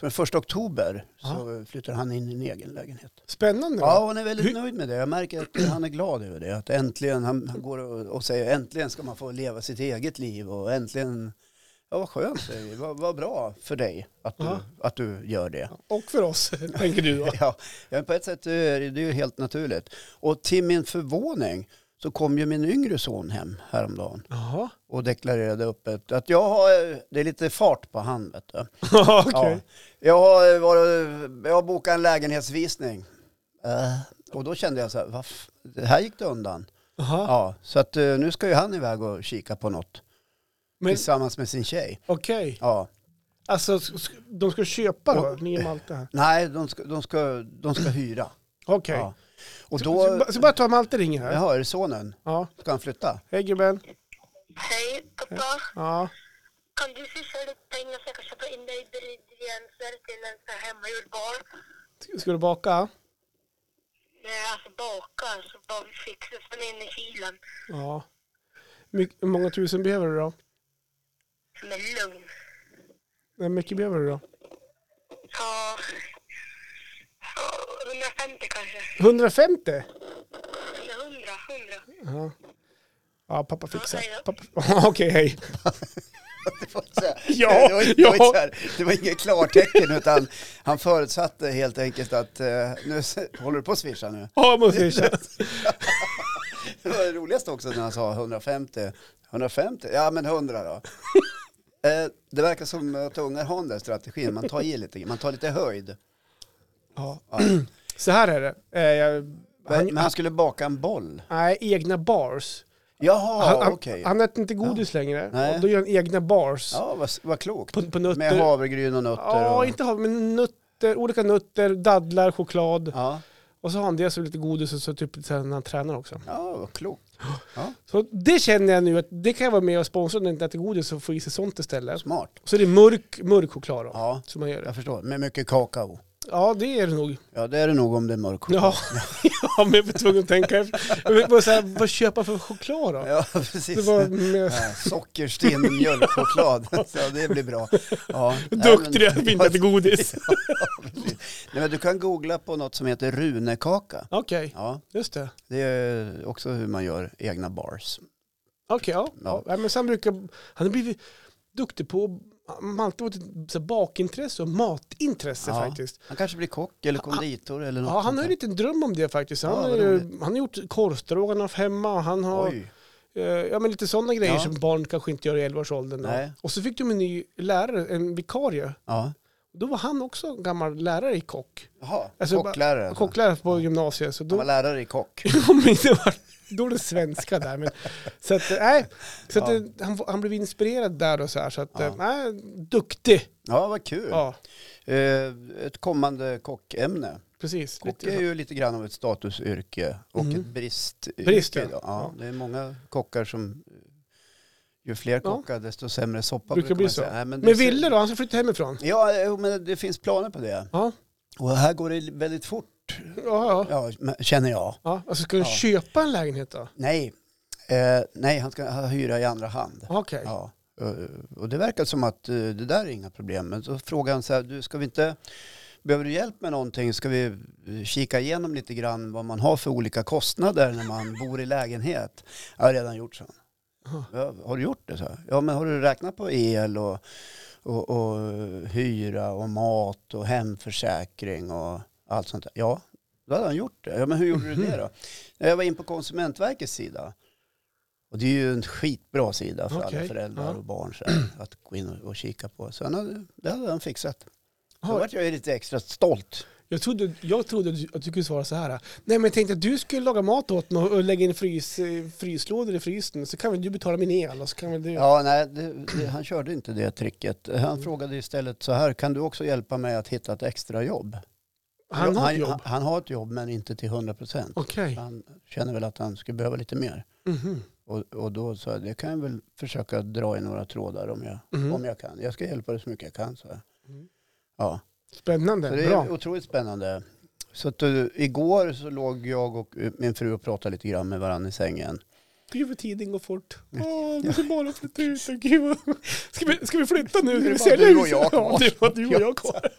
Speaker 1: Så den första oktober
Speaker 2: Ja.
Speaker 1: så flyttar han in i en egen lägenhet.
Speaker 2: Spännande va?
Speaker 1: Ja, och han är väldigt
Speaker 2: Hur-
Speaker 1: nöjd med det. Jag märker att han är glad över det. Att äntligen, han han går och, och säger äntligen ska man få leva sitt eget liv och äntligen, ja vad skönt säger vi. vad, vad bra för dig att du,
Speaker 2: Ja.
Speaker 1: att du gör det.
Speaker 2: Och för oss, tänker du då.
Speaker 1: Ja, ja, på ett sätt är det det är ju helt naturligt. Och till min förvåning så kom ju min yngre son hem häromdagen
Speaker 2: Jaha.
Speaker 1: och deklarerade öppet att jag har, eh, det är lite fart på han vet du. Ja,
Speaker 2: Okej.
Speaker 1: jag, har eh, varit, jag har bokat en lägenhetsvisning. Eh, och då kände jag så här, "Vad f- det här gick det undan.
Speaker 2: Jaha.
Speaker 1: Ja, så att eh, nu ska ju han iväg och kika på något
Speaker 2: Men
Speaker 1: tillsammans med sin tjej.
Speaker 2: okej,
Speaker 1: Ja.
Speaker 2: alltså s- s- de ska köpa då, ni i Malte här?
Speaker 1: Nej, de ska, de ska, de ska hyra.
Speaker 2: Okej.
Speaker 1: Ja. Och
Speaker 2: Så,
Speaker 1: då,
Speaker 2: så, ba- så bara ta Malte ringer här.
Speaker 1: jaha, är det sonen?
Speaker 2: Ja.
Speaker 1: Ska han flytta?
Speaker 2: Hej gubben.
Speaker 3: Hej pappa,
Speaker 2: Ja.
Speaker 3: kan du swisha lite pengar så jag kan köpa in dig ingredienser till en sån här hemmagjord bar?
Speaker 2: Ska- Ska du baka?
Speaker 3: Nej, alltså baka, alltså bara vi fixar sen in i kylen.
Speaker 2: Ja. Hur mycket- hur många tusen behöver du då?
Speaker 3: Men lugn.
Speaker 2: Hur mycket behöver du då?
Speaker 3: Ja, ja, 150 kanske.
Speaker 2: 150?
Speaker 3: Eller 100, 100.
Speaker 2: Ja. Ja, pappa fixar.
Speaker 3: Ja, hej då.
Speaker 2: Pappa... Okej, hej.
Speaker 1: Det var, så här,
Speaker 2: Ja,
Speaker 1: det var, det var,
Speaker 2: ja.
Speaker 1: så här, det var inget klartecken utan han förutsatte helt enkelt att eh, nu s- håller du på att swisha nu.
Speaker 2: Ja, måste jag säga.
Speaker 1: Det var det roligaste också när han sa 150. 150? Ja men 100 då. Eh, Det verkar som att ungar har den där strategin. Man tar i lite, man tar lite höjd.
Speaker 2: Ja. Så här är det. Eh, jag...
Speaker 1: Men
Speaker 2: Han...
Speaker 1: men han skulle baka en boll.
Speaker 2: Nej, egna bars.
Speaker 1: Jaha,
Speaker 2: han,
Speaker 1: okej.
Speaker 2: han, han äter inte godis längre.
Speaker 1: Nej.
Speaker 2: Och då gör han egna bars.
Speaker 1: Ja, vad, vad klokt.
Speaker 2: På, på
Speaker 1: Med
Speaker 2: nötter.
Speaker 1: havregryn och nötter.
Speaker 2: Ja,
Speaker 1: och,
Speaker 2: inte hav, men nötter, olika nötter, dadlar, choklad.
Speaker 1: ja.
Speaker 2: Och så har han det som lite godis och så typ sen när han tränar också.
Speaker 1: ja, vad klokt.
Speaker 2: Så det känner jag nu att det kan jag vara med och sponsra när jag inte äter godis och få i sig sånt istället.
Speaker 1: Smart.
Speaker 2: Så det är mörk, mörk choklad då.
Speaker 1: Ja,
Speaker 2: Som man gör det.
Speaker 1: jag förstår. Med mycket kakao.
Speaker 2: Ja, det är det nog.
Speaker 1: Ja, det är det nog om det är mörk choklad.
Speaker 2: Ja, ja men jag var tvungen att tänka efter. Jag vill bara säga, vad köpa för choklad då?
Speaker 1: Ja,
Speaker 2: Det
Speaker 1: precis.
Speaker 2: var med,
Speaker 1: Ja, Sockerstinn mjölkchoklad. Så det blir bra. Ja.
Speaker 2: duktig
Speaker 1: Nej,
Speaker 2: jag att vi inte äter godis.
Speaker 1: Nej, men du kan googla på något som heter runekaka.
Speaker 2: Okej,
Speaker 1: Ja,
Speaker 2: just det.
Speaker 1: det är också hur man gör egna bars.
Speaker 2: Okej, ja. ja. Nej, Men sen brukar, han har blivit duktig på, han har alltid varit ett så här bakintresse och matintresse
Speaker 1: Ja.
Speaker 2: faktiskt.
Speaker 1: Han kanske blir kock eller konditor eller något
Speaker 2: Ah, Ja, han
Speaker 1: sånt
Speaker 2: har ju en
Speaker 1: där.
Speaker 2: liten dröm om det faktiskt. Han,
Speaker 1: Ja, vad
Speaker 2: har ju-
Speaker 1: roligt.
Speaker 2: han har gjort korvstroganoff hemma och han har
Speaker 1: Oj,
Speaker 2: eh, ja, men lite sådana grejer
Speaker 1: Ja.
Speaker 2: som barn kanske inte gör i 11-årsåldern.
Speaker 1: Nej.
Speaker 2: Och så fick de en ny lärare, en vikarie.
Speaker 1: ja.
Speaker 2: Då var han också en gammal lärare i kock.
Speaker 1: Jaha,
Speaker 2: Alltså,
Speaker 1: kocklärare. alltså.
Speaker 2: Kocklärare på gymnasiet. Så då,
Speaker 1: Han var lärare i kock.
Speaker 2: Ja, men det var dålig svenska där. Men, så att, nej, så att,
Speaker 1: Ja.
Speaker 2: eh, han, han blev inspirerad där och så här. Så att,
Speaker 1: Ja. Mm.
Speaker 2: eh, nej, duktig.
Speaker 1: Ja, vad kul.
Speaker 2: Ja,
Speaker 1: Eh, ett kommande kockämne.
Speaker 2: precis.
Speaker 1: Kock
Speaker 2: Lite
Speaker 1: är
Speaker 2: så.
Speaker 1: ju lite grann av ett statusyrke och
Speaker 2: Mhm.
Speaker 1: ett bristyrke.
Speaker 2: Brist, ja.
Speaker 1: idag.
Speaker 2: Ja.
Speaker 1: Det är många kockar som, ju fler kockar desto sämre soppa
Speaker 2: Brukar
Speaker 1: brukar
Speaker 2: bli
Speaker 1: man
Speaker 2: så.
Speaker 1: säga. Nej, det
Speaker 2: Men
Speaker 1: ser-
Speaker 2: Ville då, han ska flytta hemifrån.
Speaker 1: Ja, jo, men det finns planer på det.
Speaker 2: Ja,
Speaker 1: Och här går det väldigt fort,
Speaker 2: ja, ja.
Speaker 1: ja, men- känner jag.
Speaker 2: ja. Alltså, ska du
Speaker 1: Ja.
Speaker 2: köpa en lägenhet då?
Speaker 1: Nej, eh, nej han ska hyra i andra hand.
Speaker 2: Okej.
Speaker 1: Ja. eh, Och det verkar som att eh, det där är inga problem. Men så frågar han så här, du ska vi inte, behöver du hjälp med någonting? Ska vi eh, kika igenom lite grann vad man har för olika kostnader när man bor i lägenhet? Jag har redan gjort så.
Speaker 2: Jaha.
Speaker 1: Ja, har du gjort det? Så här. Ja, men har du räknat på el och, och, och eh, hyra och mat och hemförsäkring och allt sånt där? Ja, då hade han gjort det. Ja, men hur gjorde du det då? Ja, Jag var in på Konsumentverkets sida. Och det är ju en skitbra sida för alla
Speaker 2: Okej,
Speaker 1: föräldrar
Speaker 2: ja.
Speaker 1: och barn så här, att gå in och, och kika på. Så han hade, det hade han fixat. Då
Speaker 2: Oj.
Speaker 1: vart jag ju lite extra stolt.
Speaker 2: Jag trodde, jag trodde att du- att du skulle svara så här. Nej men jag tänkte att du skulle laga mat åt mig och lägga in frys, eh, fryslådor i frysen. Så kan väl du betala min el och så kan väl du...
Speaker 1: Ja, nej, det, det, han körde inte det tricket. Han
Speaker 2: Mm.
Speaker 1: frågade istället så här, kan du också hjälpa mig att hitta ett extra jobb?
Speaker 2: han har ett jobb.
Speaker 1: Han, han har ett jobb men inte till 100 procent.
Speaker 2: Okej.
Speaker 1: Han känner väl att han skulle behöva lite mer.
Speaker 2: Mhm.
Speaker 1: Och, och då sa jag, det kan jag väl försöka dra i några trådar om jag,
Speaker 2: Mhm.
Speaker 1: om jag kan. Jag ska hjälpa dig så mycket jag kan. Så.
Speaker 2: Mm.
Speaker 1: Ja.
Speaker 2: Spännande,
Speaker 1: Så det är
Speaker 2: bra.
Speaker 1: otroligt spännande. Så att, eh, igår så låg jag och eh, min fru och pratade lite grann med varandra i sängen.
Speaker 2: Gud vad tiden går fort.
Speaker 1: Mm.
Speaker 2: Åh, vi ska bara flytta ut. och Gud vad... ska, vi, ska vi flytta nu?
Speaker 1: Det är
Speaker 2: Ska vi
Speaker 1: bara
Speaker 2: sälja
Speaker 1: du och
Speaker 2: huset?
Speaker 1: jag kvar.
Speaker 2: Ja, det var du och jag kvar.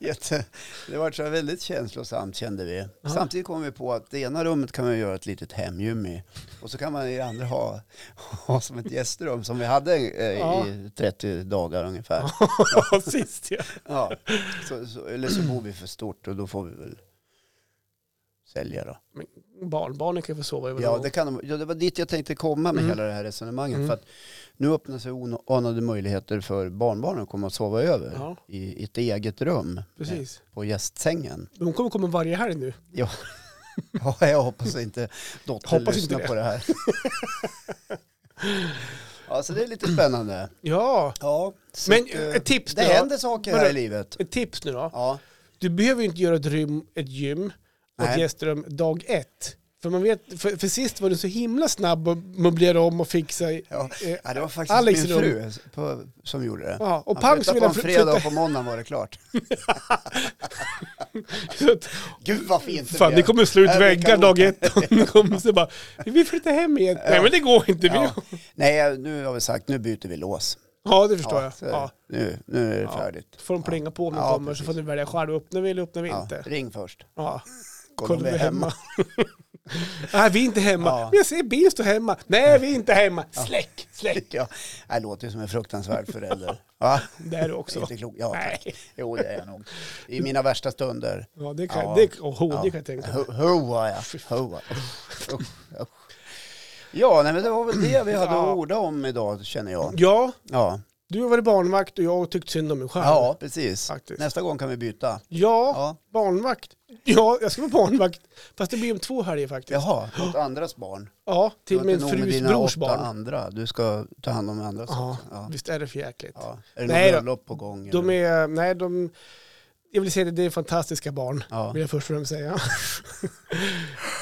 Speaker 1: Jätte, det var så här väldigt känslosamt kände vi.
Speaker 2: Ja.
Speaker 1: Samtidigt kom vi på att det ena rummet kan man göra ett litet hemgym i. Och så kan man i det andra ha, ha som ett gästrum som vi hade eh,
Speaker 2: Ja.
Speaker 1: i 30 dagar ungefär.
Speaker 2: Ja, sist ja.
Speaker 1: Ja. Så, så, eller så bor vi för stort och då får vi väl sälja då.
Speaker 2: Barnbarnen kan ju få sova över
Speaker 1: Ja
Speaker 2: någon
Speaker 1: det, kan, de- ja, det var dit jag tänkte komma med
Speaker 2: Mm.
Speaker 1: hela det här resonemanget.
Speaker 2: Mm.
Speaker 1: För att nu öppnar sig oanade möjligheter för barnbarnen att komma och sova över
Speaker 2: Ja.
Speaker 1: i ett eget rum eh,
Speaker 2: gång. Precis.
Speaker 1: på gästsängen.
Speaker 2: Men hon kommer komma varje helg nu.
Speaker 1: Ja, jag hoppas inte dottern
Speaker 2: Hoppas
Speaker 1: lyssnar
Speaker 2: inte det.
Speaker 1: på det här. ja, så det är lite spännande.
Speaker 2: Ja,
Speaker 1: Ja, så
Speaker 2: men
Speaker 1: att, eh,
Speaker 2: ett tips
Speaker 1: det
Speaker 2: nu då.
Speaker 1: händer saker
Speaker 2: Vadå?
Speaker 1: här i livet.
Speaker 2: Ett tips nu då.
Speaker 1: Ja,
Speaker 2: Du behöver ju inte göra ett, rym, ett gym och ett
Speaker 1: Nej.
Speaker 2: gästrum dag ett. För, man vet, för, för sist var du så himla snabb att möblera om och fixa. i-
Speaker 1: ja.
Speaker 2: eh,
Speaker 1: ja det var faktiskt
Speaker 2: Alex
Speaker 1: min
Speaker 2: rum.
Speaker 1: fru på, som gjorde det.
Speaker 2: Ja, och
Speaker 1: Han
Speaker 2: pang
Speaker 1: flyttade
Speaker 2: så vill
Speaker 1: på en
Speaker 2: han flytta.
Speaker 1: fredag och på måndagen var det klart.
Speaker 2: Så att-
Speaker 1: Gud vad fint det
Speaker 2: Fan,
Speaker 1: blev.
Speaker 2: det kommer slå ut
Speaker 1: Nej, det
Speaker 2: väggar
Speaker 1: kan
Speaker 2: dag
Speaker 1: låta.
Speaker 2: ett. Ni kommer så bara, vi flyttar hem igen. Nej men det går inte. Vi... Ja.
Speaker 1: Ja. Nej, nu har vi sagt, nu byter vi lås.
Speaker 2: det förstår
Speaker 1: Ja, så
Speaker 2: jag. Ja.
Speaker 1: Nu, nu är det
Speaker 2: Ja.
Speaker 1: färdigt.
Speaker 2: Får de plinga på om de
Speaker 1: Ja,
Speaker 2: kommer så
Speaker 1: precis.
Speaker 2: får du välja själv. Öppnar vi eller öppnar vi
Speaker 1: Ja,
Speaker 2: inte?
Speaker 1: ring först.
Speaker 2: Ja.
Speaker 1: Kolla om vi är hemma.
Speaker 2: Nej vi är inte hemma.
Speaker 1: Ja.
Speaker 2: Men jag ser bilen stå hemma. Nej vi är inte hemma. Släck, släck.
Speaker 1: Ja, det låter ju som en fruktansvärd förälder. Va?
Speaker 2: Det är du också.
Speaker 1: Inte klok. Ja,
Speaker 2: Nej.
Speaker 1: tack. Jo, det är jag nog. I mina värsta stunder.
Speaker 2: Ja det kan,
Speaker 1: Ja.
Speaker 2: Det, och ho, det kan jag tänka.
Speaker 1: Ho- Hoa, ja. Hoa. Usch, usch. Ja, nej, men det var väl det vi hade
Speaker 2: Ja.
Speaker 1: att orda om idag, känner jag.
Speaker 2: Ja,
Speaker 1: Ja,
Speaker 2: Du har varit barnvakt och jag har tyckt synd om mig själv.
Speaker 1: Ja, precis.
Speaker 2: Faktiskt.
Speaker 1: Nästa gång kan vi byta.
Speaker 2: Ja,
Speaker 1: Ja.
Speaker 2: barnvakt. Ja, jag ska vara barnvakt. Fast det blir om två helger faktiskt.
Speaker 1: Jaha, åt andras barn.
Speaker 2: Ja,
Speaker 1: Det
Speaker 2: till
Speaker 1: var
Speaker 2: min
Speaker 1: inte nog med
Speaker 2: frus
Speaker 1: dina
Speaker 2: brors
Speaker 1: åtta
Speaker 2: barn.
Speaker 1: andra. Du ska ta hand om andra.
Speaker 2: Ja,
Speaker 1: Ja.
Speaker 2: visst är det för jäkligt.
Speaker 1: Ja. Är det
Speaker 2: Nej då.
Speaker 1: något bröllop på gång?
Speaker 2: De
Speaker 1: eller?
Speaker 2: är, nej de, jag vill säga det, det är fantastiska barn.
Speaker 1: Ja.
Speaker 2: Vill jag först och främst säga.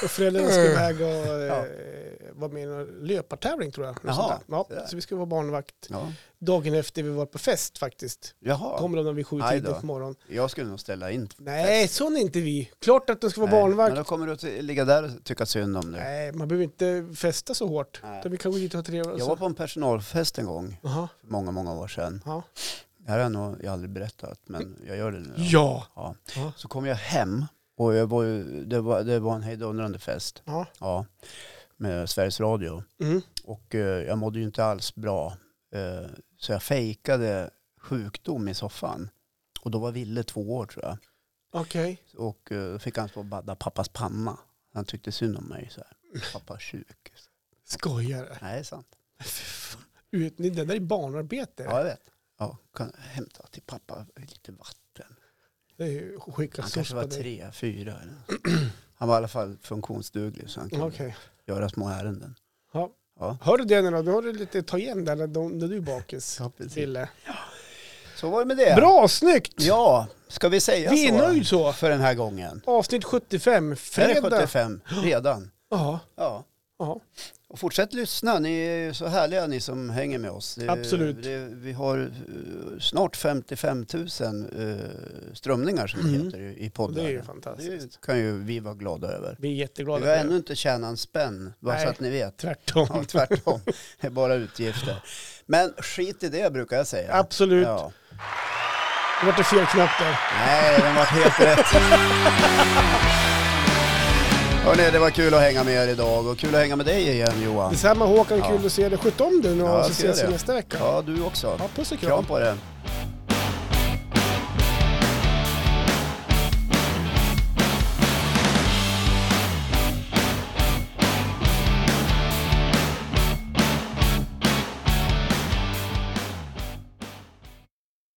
Speaker 2: och föräldrarna ska iväg och
Speaker 1: Ja.
Speaker 2: eh, vara med i en löpartävling tror jag. Något
Speaker 1: Jaha,
Speaker 2: sånt där.
Speaker 1: det
Speaker 2: Ja,
Speaker 1: där.
Speaker 2: så vi ska vara barnvakt.
Speaker 1: Ja.
Speaker 2: Dagen efter vi var på fest faktiskt.
Speaker 1: Jaha,
Speaker 2: Kommer de vid sju
Speaker 1: Aj då.
Speaker 2: tiden på morgonen.
Speaker 1: jag skulle nog ställa in.
Speaker 2: Nej, sån är inte vi. Klart att de ska vara
Speaker 1: Nej,
Speaker 2: barnvakt.
Speaker 1: Men då kommer du att ligga där och tycka synd om dig.
Speaker 2: Nej, man behöver inte festa så hårt.
Speaker 1: Nej.
Speaker 2: Utan vi kan gå dit och ha trevligt. och
Speaker 1: Jag
Speaker 2: så.
Speaker 1: var på en personalfest en gång
Speaker 2: Jaha.
Speaker 1: för många, många år sedan.
Speaker 2: Ja.
Speaker 1: Det här har jag nog jag aldrig berättat, men jag gör det nu. då.
Speaker 2: Ja.
Speaker 1: Ja.
Speaker 2: Ja.
Speaker 1: Så kom jag hem och jag var ju, det, var, det var en hejdundrande fest.
Speaker 2: Ja.
Speaker 1: Ja. Med Sveriges Radio.
Speaker 2: Mm.
Speaker 1: Och eh, jag mådde ju inte alls bra. Eh, så jag fejkade sjukdom i soffan. Och då var Ville två år tror jag.
Speaker 2: Okej.
Speaker 1: Och eh, då fick han stå och badda pappas panna. Han tyckte synd om mig. Så här. Pappa är sjuk.
Speaker 2: Skojar du?
Speaker 1: Nej, det är sant.
Speaker 2: Ut- Det där är barnarbete.
Speaker 1: Ja, jag vet. Ja, kan hämta till pappa lite vatten.
Speaker 2: Det är ju skicka
Speaker 1: Han
Speaker 2: sås
Speaker 1: kanske var
Speaker 2: på dig.
Speaker 1: tre, fyra. Eller något. Han var i alla fall funktionsduglig så han kunde
Speaker 2: Okej.
Speaker 1: göra små ärenden.
Speaker 2: Ja.
Speaker 1: Ja.
Speaker 2: Hör du det nu då? Då har du lite att ta igen där när, de, när du är bakis.
Speaker 1: Ja, precis.
Speaker 2: Ville.
Speaker 1: Så var det med det.
Speaker 2: Bra, snyggt!
Speaker 1: Ja, ska vi säga
Speaker 2: Vi är
Speaker 1: så?
Speaker 2: nöjd så.
Speaker 1: För den här gången.
Speaker 2: Avsnitt 75,
Speaker 1: Fredag.
Speaker 2: fredag.
Speaker 1: Är det 75 redan?
Speaker 2: Ja,
Speaker 1: Ja.
Speaker 2: ja.
Speaker 1: Och fortsätt lyssna, ni är ju så härliga ni som hänger med oss. Det-
Speaker 2: Absolut.
Speaker 1: Det, vi har eh, snart 55 000 eh, strömningar som det
Speaker 2: Mm.
Speaker 1: heter i i
Speaker 2: Och det
Speaker 1: podden.
Speaker 2: är ju fantastiskt.
Speaker 1: Det kan ju vi vara glada över.
Speaker 2: Vi är jätteglada
Speaker 1: Vi har
Speaker 2: för det.
Speaker 1: ännu inte tjänat en spänn, bara
Speaker 2: Nej.
Speaker 1: så att ni vet.
Speaker 2: Tvärtom.
Speaker 1: Ja, tvärtom, det är bara utgifter. Men skit i det brukar jag säga.
Speaker 2: Absolut.
Speaker 1: Ja.
Speaker 2: Det vart det fel knapp där.
Speaker 1: Nej, den var helt rätt. Hörrni, det var kul att hänga med er idag och kul att hänga med dig igen Johan.
Speaker 2: Detsamma Håkan,
Speaker 1: Ja.
Speaker 2: kul att se dig. Sköt om dig nu
Speaker 1: Ja,
Speaker 2: och så
Speaker 1: jag ska
Speaker 2: ses vi
Speaker 1: det.
Speaker 2: nästa vecka.
Speaker 1: Ja, du också.
Speaker 2: Ja, puss och kram.
Speaker 1: Kram på dig.